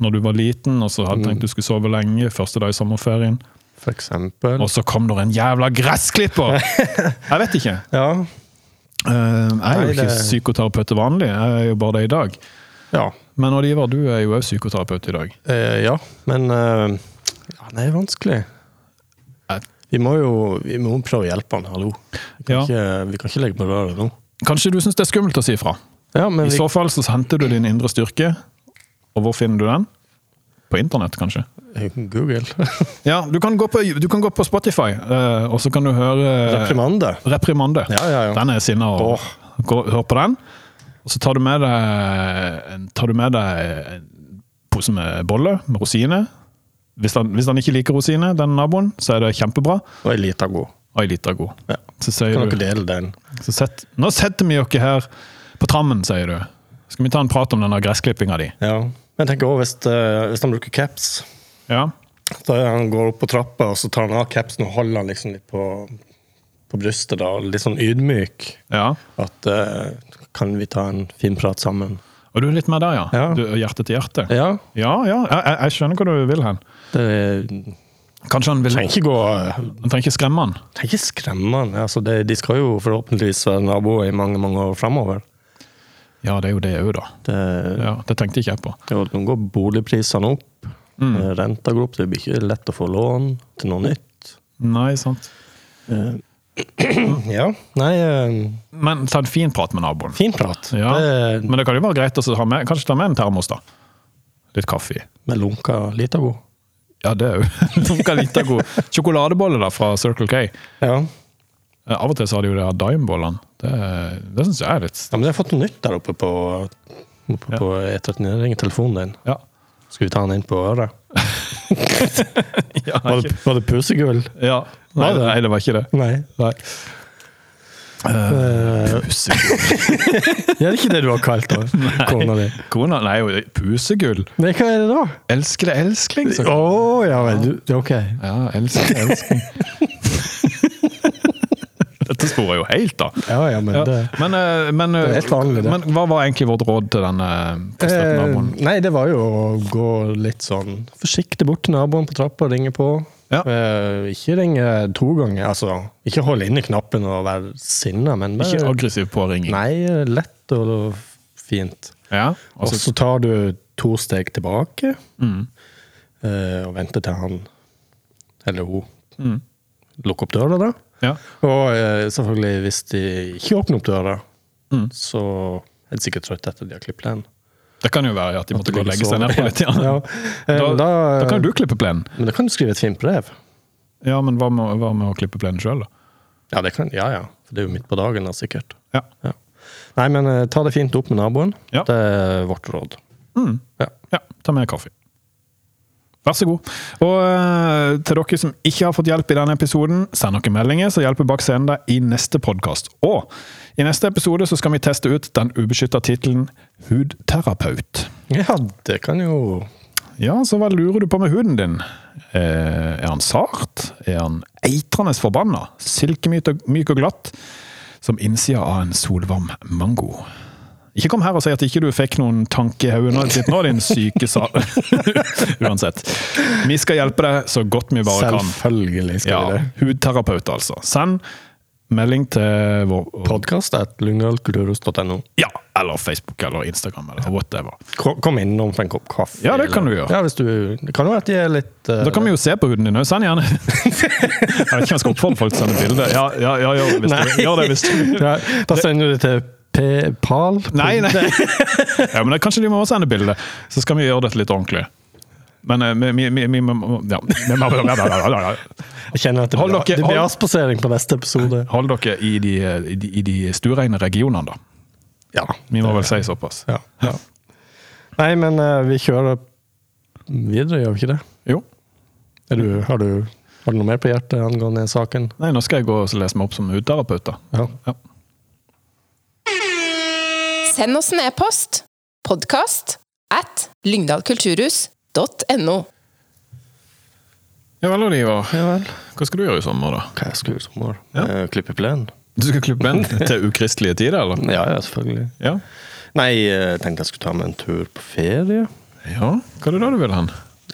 [SPEAKER 2] Når du var liten og så hadde tenkt du skulle sove lenge, første dag i sommerferien.
[SPEAKER 3] For eksempel.
[SPEAKER 2] Og så kom det en jævla gressklipper! Jeg vet ikke.
[SPEAKER 3] Ja.
[SPEAKER 2] Eh, Jeg er
[SPEAKER 3] Nei,
[SPEAKER 2] jo ikke
[SPEAKER 3] det-
[SPEAKER 2] psykoterapeut til vanlig, jeg er jo bare det i dag.
[SPEAKER 3] Ja.
[SPEAKER 2] Men Oliver, du er jo òg psykoterapeut i dag.
[SPEAKER 3] Eh, ja. Men eh, ja, det er vanskelig.
[SPEAKER 2] Jeg-
[SPEAKER 3] Vi må jo vi må prøve å hjelpe han, hallo. Vi kan,
[SPEAKER 2] Ja.
[SPEAKER 3] ikke, vi kan ikke legge på røret nå.
[SPEAKER 2] Kanskje du syns det er skummelt å si fra?
[SPEAKER 3] Ja, men
[SPEAKER 2] I
[SPEAKER 3] vi,
[SPEAKER 2] så fall så henter du din indre styrke. Og hvor finner du den? På internett, kanskje?
[SPEAKER 3] Google.
[SPEAKER 2] Ja, Du kan gå på, du kan gå på Spotify, eh, og så kan du høre eh,
[SPEAKER 3] Reprimande.
[SPEAKER 2] Reprimande.
[SPEAKER 3] Ja, ja, ja.
[SPEAKER 2] Den er sinna. og- Gå- Hør på den. Og så tar du med deg en- tar du med deg en pose med boller med rosiner. Hvis han, hvis han ikke liker rosiner, den naboen, så er det kjempebra.
[SPEAKER 3] Og ei lita god.
[SPEAKER 2] Og ei lita god.
[SPEAKER 3] Ja.
[SPEAKER 2] Så sier
[SPEAKER 3] Kan
[SPEAKER 2] du
[SPEAKER 3] dere dele den?
[SPEAKER 2] så sett, Nå setter vi dere her på trammen, sier du. Skal vi ta en prat om denne gressklippinga di?
[SPEAKER 3] Ja. Men jeg tenker også, hvis, eh, hvis han bruker caps
[SPEAKER 2] Ja.
[SPEAKER 3] Da er han går opp på trappa, og så tar han av capsen og holder han liksom litt på, på brystet. da, Litt sånn ydmyk.
[SPEAKER 2] ja.
[SPEAKER 3] At eh, Kan vi ta en fin prat sammen?
[SPEAKER 2] Og du er litt mer der, ja?
[SPEAKER 3] Ja.
[SPEAKER 2] Du, hjerte til hjerte? Ja,
[SPEAKER 3] Ja.
[SPEAKER 2] ja. Jeg, jeg- jeg skjønner hva du vil hen.
[SPEAKER 3] Det trenger
[SPEAKER 2] Kanskje han vil
[SPEAKER 3] ikke gå
[SPEAKER 2] Han trenger ikke skremme han.
[SPEAKER 3] trenger ikke skremme han. Altså, det, de skal jo forhåpentligvis være naboer i mange mange år framover.
[SPEAKER 2] Ja, det er jo det òg, da.
[SPEAKER 3] Det,
[SPEAKER 2] Ja, det tenkte ikke jeg på.
[SPEAKER 3] det, nå går boligprisene opp,
[SPEAKER 2] Mm.
[SPEAKER 3] eh, renta går opp, det blir ikke lett å få lån til noe nytt.
[SPEAKER 2] Nei, sant.
[SPEAKER 3] Ja. Nei, eh,
[SPEAKER 2] Men ta en fin prat med naboen.
[SPEAKER 3] fin prat.
[SPEAKER 2] Ja.
[SPEAKER 3] Det,
[SPEAKER 2] Men det kan jo være greit å så ha med, kanskje ta med en termos, da. Litt kaffe i.
[SPEAKER 3] med lunka lita god.
[SPEAKER 2] Ja, det òg. Funka litt av god. Sjokoladebolle da, fra Circle K.
[SPEAKER 3] Ja.
[SPEAKER 2] Eh, Av og til så har de jo det her Dime-bollene. Det, det syns jeg er litt
[SPEAKER 3] Ja, men jeg har fått noe nytt der oppe på, oppe på E39. Ring telefonen din.
[SPEAKER 2] Ja.
[SPEAKER 3] Skal vi ta den inn på øret?
[SPEAKER 2] Ja,
[SPEAKER 3] Var det, var det pusegull?
[SPEAKER 2] ja. Nei,
[SPEAKER 3] Var det?
[SPEAKER 2] nei, det var ikke det.
[SPEAKER 3] Nei.
[SPEAKER 2] Nei.
[SPEAKER 3] Eh,
[SPEAKER 2] Pusegull.
[SPEAKER 3] det er ikke det du har kalt da, kona di.
[SPEAKER 2] Kona Nei, jo, pusegull.
[SPEAKER 3] Nei, hva er det da?
[SPEAKER 2] Elskede elskling,
[SPEAKER 3] Å,
[SPEAKER 2] så
[SPEAKER 3] ja vel. Du, ok.
[SPEAKER 2] Ja, elsker, elsker. dette sporer jo helt, da.
[SPEAKER 3] Ja, ja, men det-
[SPEAKER 2] men, eh, men,
[SPEAKER 3] er helt vanlig, det.
[SPEAKER 2] men hva var egentlig vårt råd til denne frustrerte
[SPEAKER 3] Eh,
[SPEAKER 2] naboen?
[SPEAKER 3] nei, det var jo å gå litt sånn forsiktig bort til naboen på trappa og ringe på.
[SPEAKER 2] Ja.
[SPEAKER 3] Eh, ikke ringe to ganger. Altså, ikke holde inne knappen og være sinna, men bare
[SPEAKER 2] Ikke aggressiv påringing.
[SPEAKER 3] Nei, lett og fint.
[SPEAKER 2] Ja,
[SPEAKER 3] Og
[SPEAKER 2] altså, mm.
[SPEAKER 3] så tar du to steg tilbake eh, og venter til han eller hun
[SPEAKER 2] Mm.
[SPEAKER 3] lukker opp døra, da.
[SPEAKER 2] ja.
[SPEAKER 3] Og eh, selvfølgelig, hvis de ikke åpner opp døra,
[SPEAKER 2] Mm.
[SPEAKER 3] så er de sikkert trøtte etter de har klippet plenen.
[SPEAKER 2] Det kan jo være at de måtte gå og legge seg ned
[SPEAKER 3] Ligge og sove.
[SPEAKER 2] på litt. Ja.
[SPEAKER 3] Ja. Eh,
[SPEAKER 2] Da,
[SPEAKER 3] men
[SPEAKER 2] da,
[SPEAKER 3] da-
[SPEAKER 2] kan jo du klippe plenen.
[SPEAKER 3] Men da kan du skrive et fint brev.
[SPEAKER 2] Ja, men hva med, hva med å klippe plenen sjøl, da?
[SPEAKER 3] Ja, det kan, ja, ja. For det er jo midt på dagen, da, sikkert.
[SPEAKER 2] Ja.
[SPEAKER 3] Ja. Nei, men eh, ta det fint opp med naboen.
[SPEAKER 2] Ja.
[SPEAKER 3] Det er vårt råd. Ja.
[SPEAKER 2] Ja, ta med kaffe. Vær så god. Og eh, til dere som ikke har fått hjelp i denne episoden, send noen meldinger, så hjelper Bak scenen deg i neste podkast. Og i neste episode så skal vi teste ut den ubeskytta tittelen Hudterapeut.
[SPEAKER 3] ja, det kan jo
[SPEAKER 2] Ja, så hva lurer du på med huden din? Eh, er han sart? Er han eitrende forbanna? Silkemyk og, myk og glatt? Som innsida av en solvarm mango. Ikke kom her og si at ikke du fikk noen tanke i hodet ditt nå, din syke sa... Uansett. Vi skal hjelpe deg så godt vi bare kan.
[SPEAKER 3] Selvfølgelig skal vi
[SPEAKER 2] Ja,
[SPEAKER 3] det.
[SPEAKER 2] Hudterapeut, altså. Send melding til vår
[SPEAKER 3] Podkast at lungalkulturhus.no.
[SPEAKER 2] Ja, eller Facebook eller Instagram eller whatever.
[SPEAKER 3] Ko- Kom innom for en kopp kaffe.
[SPEAKER 2] Ja, det kan du gjøre.
[SPEAKER 3] Ja, hvis du, det kan jo være at de er litt eh,
[SPEAKER 2] Da kan vi jo se på huden din òg. Send gjerne. Jeg vet ikke om jeg skal oppfordre folk til å sende bilde. Ja, ja, ja, ja, hvis du, gjør det hvis du
[SPEAKER 3] ja, Da sender du det til P. Pal.
[SPEAKER 2] Nei, nei. Ja, men da, kanskje de må også sende bilde, så skal vi gjøre dette litt ordentlig. Men eh, vi- vi vi- vi må ja, vi må- ja, ja, ja, ja, ja.
[SPEAKER 3] Jeg kjenner at det
[SPEAKER 2] Hold
[SPEAKER 3] blir,
[SPEAKER 2] dere-
[SPEAKER 3] det blir
[SPEAKER 2] hold-
[SPEAKER 3] avspasering på neste episode.
[SPEAKER 2] Hold dere i de, i de, i de stuereine regionene, da.
[SPEAKER 3] Ja.
[SPEAKER 2] Vi må vel si såpass.
[SPEAKER 3] ja, ja. Nei, men eh, vi kjører videre, gjør vi ikke det?
[SPEAKER 2] Jo.
[SPEAKER 3] Er du, har, du, har du noe mer på hjertet angående saken?
[SPEAKER 2] Nei, nå skal jeg gå og lese meg opp som hudterapeut, da.
[SPEAKER 3] Ja.
[SPEAKER 2] Ja.
[SPEAKER 1] Send oss en e-post. Podkast at lyngdalkulturhus.no.
[SPEAKER 2] Ja vel, Oliver.
[SPEAKER 3] Ja vel.
[SPEAKER 2] Hva skal du gjøre i sommer, da?
[SPEAKER 3] Hva jeg skal gjøre i sommer? Eh, Klippe plenen?
[SPEAKER 2] Du skal klippe den til ukristelige tider, eller?
[SPEAKER 3] Ja, ja, selvfølgelig.
[SPEAKER 2] Ja.
[SPEAKER 3] Nei, jeg tenkte jeg skulle ta meg en tur på ferie.
[SPEAKER 2] ja. Hva er det da du vil hen?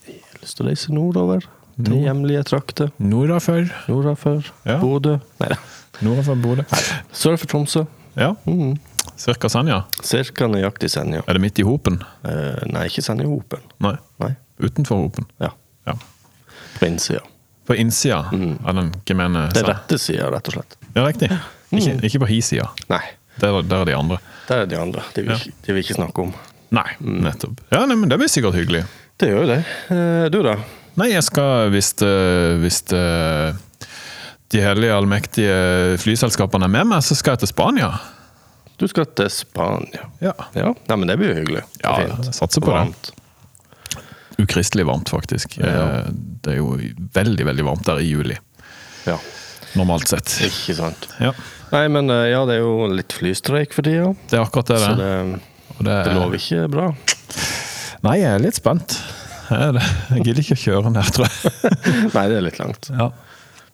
[SPEAKER 3] Jeg har lyst til å reise nordover. Til hjemlige trakter.
[SPEAKER 2] Nordafor.
[SPEAKER 3] Nordafor.
[SPEAKER 2] Ja.
[SPEAKER 3] Bodø. Nei da.
[SPEAKER 2] Nordafor Bodø.
[SPEAKER 3] Sør for Tromsø. Mm.
[SPEAKER 2] Ja. Cirka Senja.
[SPEAKER 3] Cirka nøyaktig Senja.
[SPEAKER 2] Er det midt i hopen?
[SPEAKER 3] Eh, nei, ikke Senjahopen.
[SPEAKER 2] Nei.
[SPEAKER 3] Nei.
[SPEAKER 2] Utenfor hopen.
[SPEAKER 3] Ja.
[SPEAKER 2] Ja.
[SPEAKER 3] På innsida.
[SPEAKER 2] På innsida av den gemene
[SPEAKER 3] Mm. Det Mm. er
[SPEAKER 2] sand.
[SPEAKER 3] rette sida, rett og slett.
[SPEAKER 2] Ja, riktig. Ikke, ikke på hi-sida.
[SPEAKER 3] Nei.
[SPEAKER 2] Der, der er de andre.
[SPEAKER 3] Der er de andre. De vil,
[SPEAKER 2] Ja.
[SPEAKER 3] ikke- de vil ikke snakke om.
[SPEAKER 2] Nei,
[SPEAKER 3] Mm.
[SPEAKER 2] nettopp. Ja, nei, men Det blir sikkert hyggelig.
[SPEAKER 3] Det gjør jo det. Eh, du, da?
[SPEAKER 2] Nei, jeg skal hvis det- Hvis det- de hellige allmektige flyselskapene er med meg, så skal jeg til Spania.
[SPEAKER 3] Du skal til Spania.
[SPEAKER 2] Ja.
[SPEAKER 3] Ja, Nei, men det blir jo hyggelig.
[SPEAKER 2] Ja,
[SPEAKER 3] Og fint.
[SPEAKER 2] jeg satser på
[SPEAKER 3] Og
[SPEAKER 2] det.
[SPEAKER 3] varmt.
[SPEAKER 2] Ukristelig varmt, faktisk.
[SPEAKER 3] Ja.
[SPEAKER 2] Eh, Det er jo veldig, veldig varmt der i juli.
[SPEAKER 3] Ja,
[SPEAKER 2] Normalt sett.
[SPEAKER 3] ikke sant.
[SPEAKER 2] Ja,
[SPEAKER 3] Nei, men eh, ja, det er jo litt flystreik for tida.
[SPEAKER 2] Det er akkurat det.
[SPEAKER 3] Så
[SPEAKER 2] det.
[SPEAKER 3] det,
[SPEAKER 2] Og det,
[SPEAKER 3] det lover ikke bra.
[SPEAKER 2] Nei, jeg er litt spent. Jeg er det. Jeg gidder ikke å kjøre ned, tror jeg.
[SPEAKER 3] Nei, det er litt langt.
[SPEAKER 2] Ja.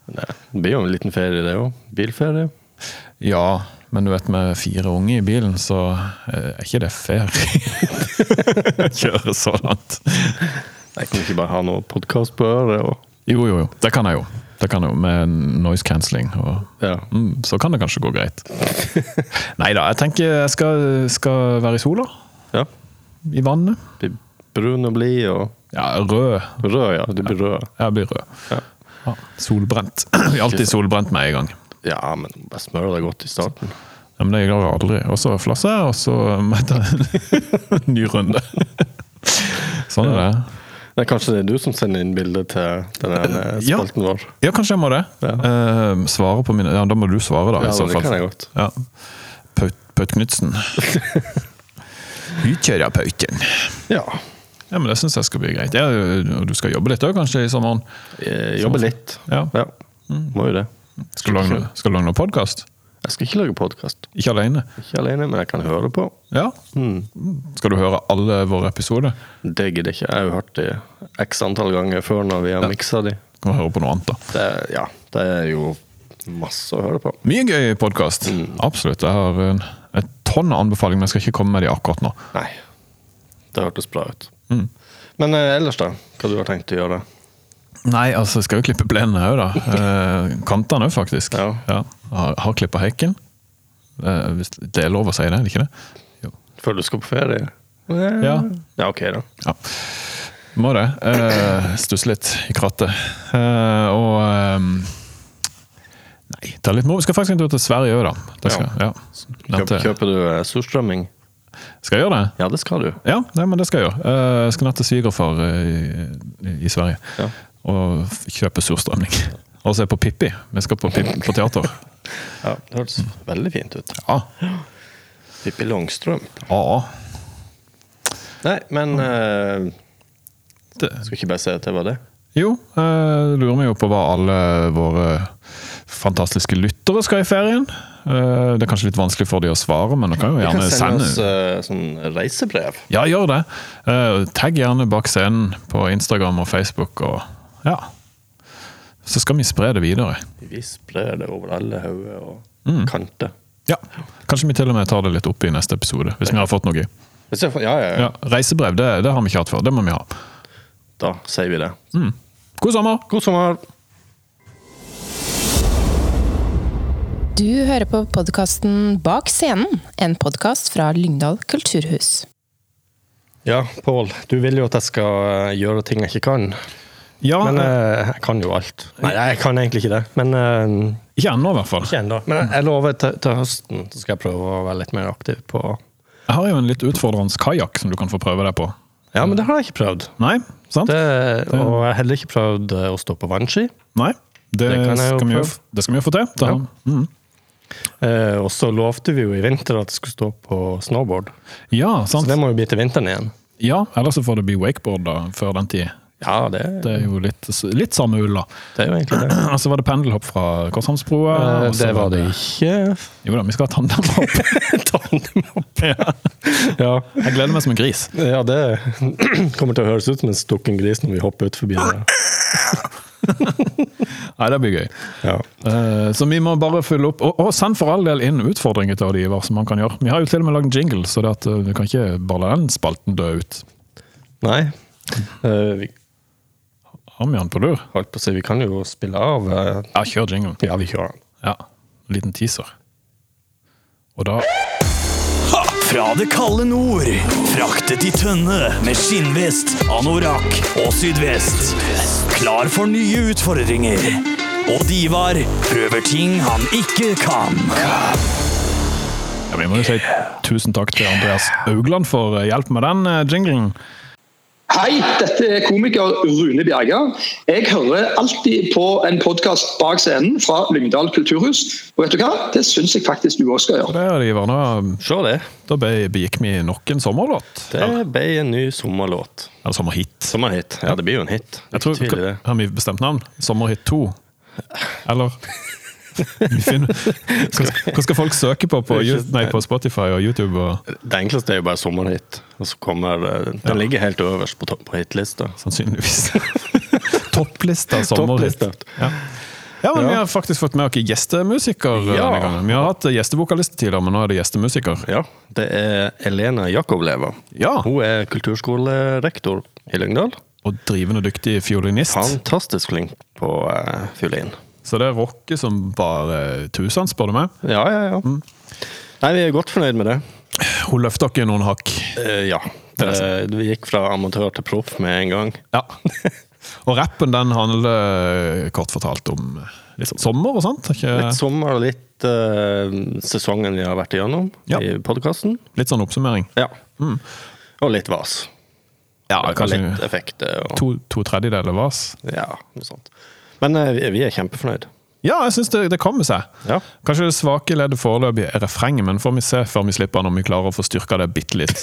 [SPEAKER 3] Men det det blir jo en liten ferie, det òg. Bilferie.
[SPEAKER 2] ja, men du vet med fire unge i bilen, så eh, er ikke det fair å kjøre så langt.
[SPEAKER 3] Jeg kan ikke bare ha noe podkast på øret. Og,
[SPEAKER 2] Jo, jo, jo. Det kan jeg jo. Det kan jeg jo, Med noise cancelling. Og,
[SPEAKER 3] ja.
[SPEAKER 2] mm, så kan det kanskje gå greit. Nei da, jeg tenker jeg skal, skal være i sola.
[SPEAKER 3] ja.
[SPEAKER 2] I vannet.
[SPEAKER 3] Bli brun og blid og
[SPEAKER 2] Ja, rød.
[SPEAKER 3] rød, ja. Du blir rød.
[SPEAKER 2] Jeg blir rød.
[SPEAKER 3] Ja.
[SPEAKER 2] Ja, solbrent. Jeg er alltid solbrent med en gang.
[SPEAKER 3] Ja, men bare smør deg godt i starten.
[SPEAKER 2] Ja, men det gjør jeg aldri. Og så flasser jeg, og så må jeg ta en ny runde. Sånn er det.
[SPEAKER 3] Det er kanskje det er du som sender inn bilde til den ene
[SPEAKER 2] Eh, Ja.
[SPEAKER 3] spalten vår.
[SPEAKER 2] Ja, kanskje jeg må det.
[SPEAKER 3] Ja.
[SPEAKER 2] Eh, svare på mine Ja, da må du svare, da.
[SPEAKER 3] Ja,
[SPEAKER 2] i så
[SPEAKER 3] det
[SPEAKER 2] fall.
[SPEAKER 3] kan jeg godt.
[SPEAKER 2] Ja. Paut, Paut Knutsen. Hudkjørapauten.
[SPEAKER 3] Ja.
[SPEAKER 2] Ja, men det syns jeg skal bli greit. Ja, og du skal jobbe litt òg, kanskje, i sommeren?
[SPEAKER 3] Jeg jobber litt.
[SPEAKER 2] Ja. Mm.
[SPEAKER 3] Må jo det.
[SPEAKER 2] Skal du lage noe- skal du lage noe podkast?
[SPEAKER 3] Jeg skal ikke lage podkast.
[SPEAKER 2] Ikke alene?
[SPEAKER 3] Ikke alene, men jeg kan høre på.
[SPEAKER 2] Ja?
[SPEAKER 3] Hmm.
[SPEAKER 2] Skal du høre alle våre episoder?
[SPEAKER 3] Det gidder jeg ikke. Jeg har jo hørt de x antall ganger før når vi har miksa de.
[SPEAKER 2] Kan du høre på noe annet, da?
[SPEAKER 3] Det, ja, det er jo Masse å høre på.
[SPEAKER 2] Mye gøy podkast.
[SPEAKER 3] Mm.
[SPEAKER 2] Absolutt. Jeg har en, et tonn av anbefalinger, men jeg skal ikke komme med de akkurat nå.
[SPEAKER 3] Nei. Det hørtes bra ut. Men eh, ellers, da? Hva du har tenkt å gjøre?
[SPEAKER 2] Nei, altså, jeg skal jo klippe plenene òg, da. Eh, kantene òg, faktisk.
[SPEAKER 3] Ja.
[SPEAKER 2] Jeg Har, har klippa hekken. Eh, hvis det er lov å si det, er det ikke det? Jo.
[SPEAKER 3] Før du skal på ferie?
[SPEAKER 2] Ja.
[SPEAKER 3] Ja, ok, da.
[SPEAKER 2] ja. Må det. Eh, Stusse litt i krattet. Eh, og eh, Nei, ta litt moro. Skal faktisk en tur til Sverige òg, da. Det skal, ja.
[SPEAKER 3] Kjøp,
[SPEAKER 2] Dette-
[SPEAKER 3] kjøper du eh, surstrømming?
[SPEAKER 2] Skal jeg gjøre det?
[SPEAKER 3] Ja, det skal du.
[SPEAKER 2] Ja, nei, men det skal jeg gjøre. Eh, Jeg skal ned til svigerfar eh, i, i Sverige
[SPEAKER 3] Ja.
[SPEAKER 2] og f- kjøpe surstrømning. Og så er jeg på Pippi. Vi skal på, Pippi, på teater.
[SPEAKER 3] Ja, Det hørtes veldig fint ut.
[SPEAKER 2] Ja.
[SPEAKER 3] Pippi Longstrømp.
[SPEAKER 2] ja.
[SPEAKER 3] Nei, men eh,
[SPEAKER 2] Det.
[SPEAKER 3] Skal ikke bare si at det var det?
[SPEAKER 2] Jo, eh, lurer meg jo på hva alle våre fantastiske lyttere skal i ferien. Eh, Det er kanskje litt vanskelig for de å svare, men du kan jo
[SPEAKER 3] Du kan
[SPEAKER 2] gjerne sende
[SPEAKER 3] sende oss eh, sånn reisebrev.
[SPEAKER 2] Ja, gjør det. Eh, Tagg gjerne bak scenen på Instagram og Facebook og Ja. Så skal vi spre det videre.
[SPEAKER 3] Vi sprer det over alle hoder og kanter.
[SPEAKER 2] Ja. Kanskje vi til og med tar det litt opp i neste episode, hvis vi har fått noe gøy.
[SPEAKER 3] Hvis jeg får- Ja, ja, ja.
[SPEAKER 2] Ja, reisebrev, det, det har vi ikke hatt før. Det må vi ha.
[SPEAKER 3] Da sier vi det.
[SPEAKER 2] God sommer!
[SPEAKER 3] God sommer!
[SPEAKER 1] Du hører på podkasten Bak scenen, en podkast fra Lyngdal kulturhus.
[SPEAKER 3] Ja, Pål, du vil jo at jeg skal eh, gjøre ting jeg ikke kan.
[SPEAKER 2] Ja,
[SPEAKER 3] Men
[SPEAKER 2] eh,
[SPEAKER 3] eh, jeg kan jo alt. Nei, jeg kan egentlig ikke det. Men eh,
[SPEAKER 2] ikke ennå, i hvert fall.
[SPEAKER 3] ikke ennå. Men jeg- jeg lover til, til høsten så skal jeg prøve å være litt mer aktiv på
[SPEAKER 2] Jeg har jo en litt utfordrende kajakk som du kan få prøve deg på.
[SPEAKER 3] Ja, men det har jeg ikke prøvd.
[SPEAKER 2] Nei? Sant?
[SPEAKER 3] Det, og jeg har heller ikke prøvd eh, å stå på vannski.
[SPEAKER 2] Nei? Det,
[SPEAKER 3] Det kan jeg jo
[SPEAKER 2] skal vi jo,
[SPEAKER 3] prøve.
[SPEAKER 2] det skal vi jo få til. Da, mm.
[SPEAKER 3] Eh, og så lovte vi jo i vinter at jeg skulle stå på snowboard.
[SPEAKER 2] ja,
[SPEAKER 3] Så
[SPEAKER 2] sant.
[SPEAKER 3] det må jo bli til vinteren igjen.
[SPEAKER 2] Ja, Ellers så får det bli wakeboard da, før den tid.
[SPEAKER 3] Ja, det,
[SPEAKER 2] Det er jo litt, litt samme ulla.
[SPEAKER 3] det er jo egentlig det.
[SPEAKER 2] Og så var det pendelhopp fra Korshamnsbroa.
[SPEAKER 3] Eh,
[SPEAKER 2] og så
[SPEAKER 3] det var det ikke.
[SPEAKER 2] Jo da, vi skal ha tandemhopp.
[SPEAKER 3] Tandemhopp.
[SPEAKER 2] Ja.
[SPEAKER 3] Ja.
[SPEAKER 2] Jeg gleder meg som en gris.
[SPEAKER 3] ja, det kommer til å høres ut som en stukken gris når vi hopper ut forbi det.
[SPEAKER 2] Nei, det blir gøy.
[SPEAKER 3] Ja.
[SPEAKER 2] Eh, Så vi må bare fylle opp. Og, og send for all del inn utfordringer til Oliver, som han kan gjøre. Vi har jo til og med lagd en jingle, så det at eh, vi kan ikke bare la den spalten dø ut.
[SPEAKER 3] Nei. Eh, vi
[SPEAKER 2] Har vi han på lur?
[SPEAKER 3] holdt på å si vi kan jo spille av. eh,
[SPEAKER 2] Ja, kjør jinglen.
[SPEAKER 3] Ja, vi kjører den.
[SPEAKER 2] Ja. En liten teaser. Og da
[SPEAKER 10] Fra det kalde nord, fraktet i tønne med skinnvest, anorakk og sydvest. Klar for nye utfordringer. Og Divar prøver ting han ikke kan.
[SPEAKER 2] Ja, Vi må jo si tusen takk til Andreas Augland for eh, hjelp med den eh, jinglen.
[SPEAKER 11] Hei, dette er komiker Rune Bjerga. Jeg hører alltid på en podkast bak scenen fra Lyngdal kulturhus. Og vet du hva? Det syns jeg faktisk du også skal
[SPEAKER 2] Og
[SPEAKER 11] gjøre.
[SPEAKER 2] det, Oliver, da,
[SPEAKER 3] Se det.
[SPEAKER 2] da be- begikk vi nok en sommerlåt.
[SPEAKER 3] Det ble en ny sommerlåt.
[SPEAKER 2] Eller sommerhit.
[SPEAKER 3] Sommerhit. Ja, det blir jo en hit.
[SPEAKER 2] Jeg tror,
[SPEAKER 3] Ikke tvil i det.
[SPEAKER 2] Har vi bestemt navn? Sommerhit 2? Eller Vi finner- Hva skal- hva skal folk søke på på, Ju- nei, på Spotify og YouTube? Og,
[SPEAKER 3] Det enkleste er jo bare sommerhit. Og så kommer, eh, den den ligger helt øverst på, topp- på hitlista.
[SPEAKER 2] sannsynligvis. Topplista sommerhit.
[SPEAKER 3] Topplista.
[SPEAKER 2] Ja. ja, men
[SPEAKER 3] Ja.
[SPEAKER 2] Vi har faktisk fått med oss gjestemusiker.
[SPEAKER 3] Ja.
[SPEAKER 2] denne gangen. Vi har hatt gjestevokalist tidligere, men nå er det gjestemusiker.
[SPEAKER 3] Ja, det er Elena Jakovleva.
[SPEAKER 2] Ja.
[SPEAKER 3] Hun er kulturskolerektor i Lyngdal.
[SPEAKER 2] Og drivende dyktig fiolinist.
[SPEAKER 3] Fantastisk flink på eh, fiolin.
[SPEAKER 2] Så det rocker som bare tusen, spør du meg.
[SPEAKER 3] Ja, ja, ja. Nei, vi er godt fornøyd med det.
[SPEAKER 2] Hun løfter ikke noen hakk.
[SPEAKER 3] Eh, ja. Eh, vi gikk fra amatør til proff med en gang.
[SPEAKER 2] Ja. Og rappen den handler eh, kort fortalt om litt sånn sommer og sånt. Ikke?
[SPEAKER 3] Litt sommer og sånn litt eh, sesongen vi har vært igjennom
[SPEAKER 2] Ja.
[SPEAKER 3] i podkasten.
[SPEAKER 2] Litt sånn oppsummering.
[SPEAKER 3] Ja. Og litt vas.
[SPEAKER 2] Ja,
[SPEAKER 3] og
[SPEAKER 2] kanskje
[SPEAKER 3] litt eh, effekter. Og,
[SPEAKER 2] to, to tredjedeler vas.
[SPEAKER 3] ja, noe sånt. Men eh, vi, vi er kjempefornøyd.
[SPEAKER 2] Ja, jeg syns det, det kommer seg.
[SPEAKER 3] Ja.
[SPEAKER 2] Kanskje det svake leddet foreløpig er refrenget, men får vi se før vi slipper den, om vi klarer å få styrka det bitte litt.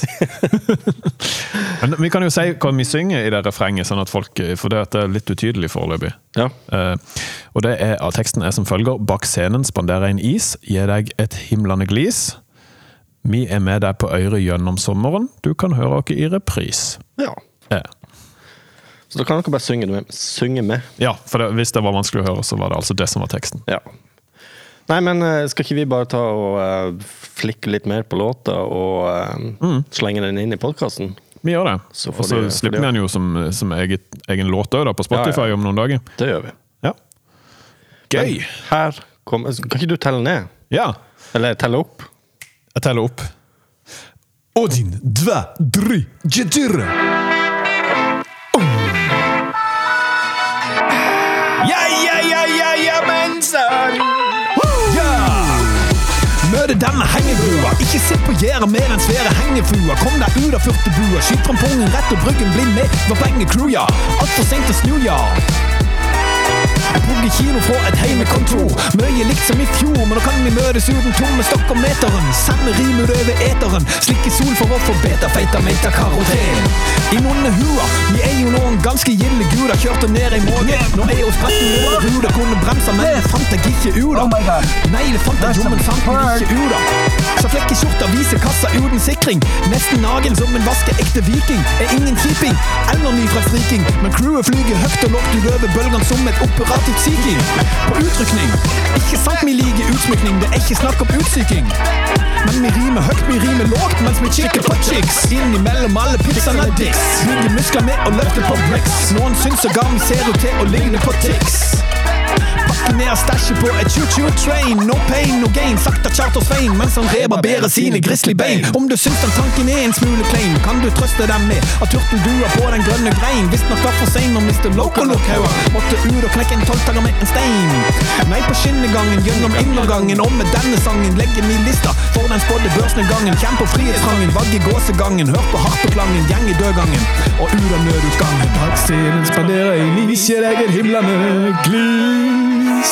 [SPEAKER 2] men vi kan jo si hva vi synger i det refrenget, sånn at folk, for det, at det er litt utydelig foreløpig.
[SPEAKER 3] Ja.
[SPEAKER 2] Eh, og det er, ja, teksten er som følger. Bak scenen spanderer jeg en is, gir deg et himlende glis. Vi er med deg på øret gjennom sommeren, du kan høre oss i repris.
[SPEAKER 3] ja.
[SPEAKER 2] Eh,
[SPEAKER 3] Så da kan dere bare synge med. Synge med.
[SPEAKER 2] Ja, for det, hvis det var vanskelig å høre, så var det altså det som var teksten.
[SPEAKER 3] Ja. Nei, men eh, skal ikke vi bare ta og eh, flikke litt mer på låta og eh,
[SPEAKER 2] Mm.
[SPEAKER 3] slenge den inn i podkasten?
[SPEAKER 2] Vi gjør det.
[SPEAKER 3] Så får
[SPEAKER 2] Og så
[SPEAKER 3] de- får de-
[SPEAKER 2] slipper vi den jo som, som eget, egen låt også da, på Spotify
[SPEAKER 3] Ja, ja.
[SPEAKER 2] om noen dager.
[SPEAKER 3] Det gjør vi.
[SPEAKER 2] Ja. Gøy!
[SPEAKER 3] Men her kommer Kan ikke du telle ned?
[SPEAKER 2] Ja.
[SPEAKER 3] Eller telle opp?
[SPEAKER 2] Jeg teller opp.
[SPEAKER 6] Один, два, три, четыре.
[SPEAKER 10] Ja, ja, ja, ja, ja, men sånn. sann!
[SPEAKER 6] Møte denne hengebua. Ikke sitt på gjerdet mer enn svære hengefluer. Kom deg ut av furtebua. Skyt trampongen rett og bryggen. Bli med på bange crew, ja. Altfor seint å snu, ja. Jeg bodde i kino fra et heimekontor. Mye likt som i fjor, men nå kan vi møtes uten tomme stokker meteren. Sende rim utover eteren. Slikke sol for å forbedre feita meita karoten. I monnehua, vi er jo noen ganske gilde guder. Kjørte ned i månen. Nå er jo spretten over ruta. Kunne bremsa, men det fant jeg ikke ut av. Nei, det fant jeg jommen fant den ikke ut av. Så flekk i skjorta viser kassa uten sikring. Nesten nagen som en vaskeekte viking. Er ingen keeping eller ny fra friking. Men crewet flyger høyt og lågt utover bølgene som et operativt Sea King. På utrykning. Ikke sant vi liker utsmykning, det er ikke snakk om utsyking. Men vi rimer høyt, vi rimer lågt mens vi kikker på chicks. Innimellom alle pizzaene dicks. Bygger muskler med og løfter på bricks. Noen syns sågar vi ser ut til å ligne på Tix. Pakke ned stæsjet på et choo-choo-train. No pain, no gain. Sakte charter-svein mens han rebarberer sine grizzlybein. Om du syns den tanken er en smule klein, kan du trøste dem med at turteldua på den grønne grein visstnok var for sein når Mr. Loco-Lokhauga måtte ut og knekke en tolvtanger med en stein. Nei, på skinnegangen gjennom innergangen, og med denne sangen legger vi lista for den spådde børsnedgangen. Kjenn på frihetstrangen, vagge gåsegangen, hør på harpeklangen, gjeng i dødgangen og ut av nødutgangen. Taxien spanderer i lis, jeg legger himlene glis.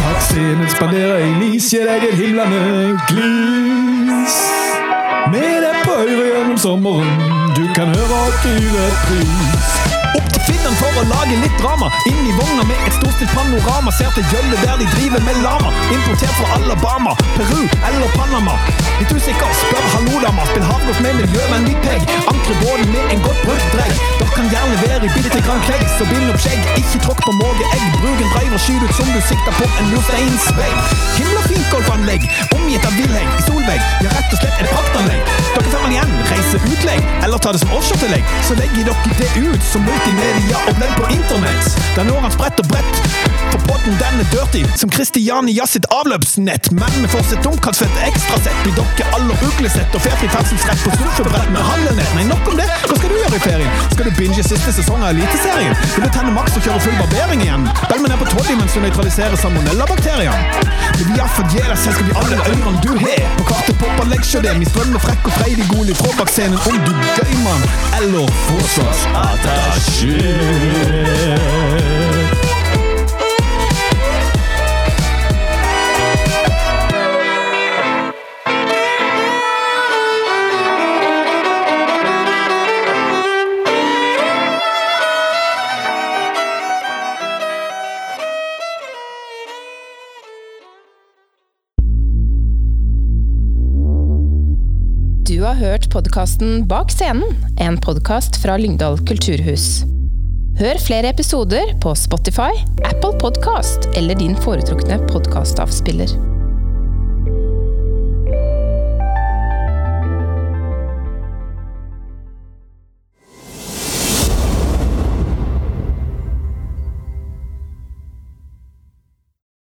[SPEAKER 6] Taxien spanderer i lis, jeg legger himlene glis. Med deg på øret gjennom sommeren, du kan høre aktive pris. Opp til finnene for å lage litt drama. Inn i vogna med et storstilt panorama. Ser til gjølle der de driver med lama. Importert fra Alabama, Peru eller Panama. Litt usikker, spør hallo dama. Spill havgolf med miljøvennlig pegg. Ankre båten med en godt brukt dregg. Dere kan gjerne være i bitte grann klegg, så bind opp skjegg. Ikke tråkk på mage, egg. Bruk en driver, skyt ut som du sikter på en mursteinsvegg. Himla fint golfanlegg, omgitt av villhegg. Solvegg, ja rett og slett et praktanlegg. Dere tar vel igjen, reise utlegg, eller ta det som offshore-tillegg. Så legger dere det ut som multimedia og blend på internett. Der når han spredt og bredt, for båten den er dirty, som Christiania sitt avløpsnett. Men vi får sitt omkastfett ekstra sett, blir dere aller uglesett og ferdig ferdselsrett på surfebrett med hallenett. Nei, nok om det, hva skal du gjøre i ferien? Skal du binge siste sesong av Eliteserien? Vil du tenne maks og kjøre full barbering igjen? Bell meg ned på tolv mens du nøytraliserer salmonellabakterien. Det vil iallfall gi deg selskap i alle ørene du har. På kartet popper leggsjå det, min strøm er frekk og freidig god fra bakscenen. Om du gøymann eller forsvarsattaché.
[SPEAKER 1] Du har hørt podkasten Bak scenen, en podkast fra Lyngdal kulturhus. Hør flere episoder på Spotify, Apple Podkast eller din foretrukne podkastavspiller.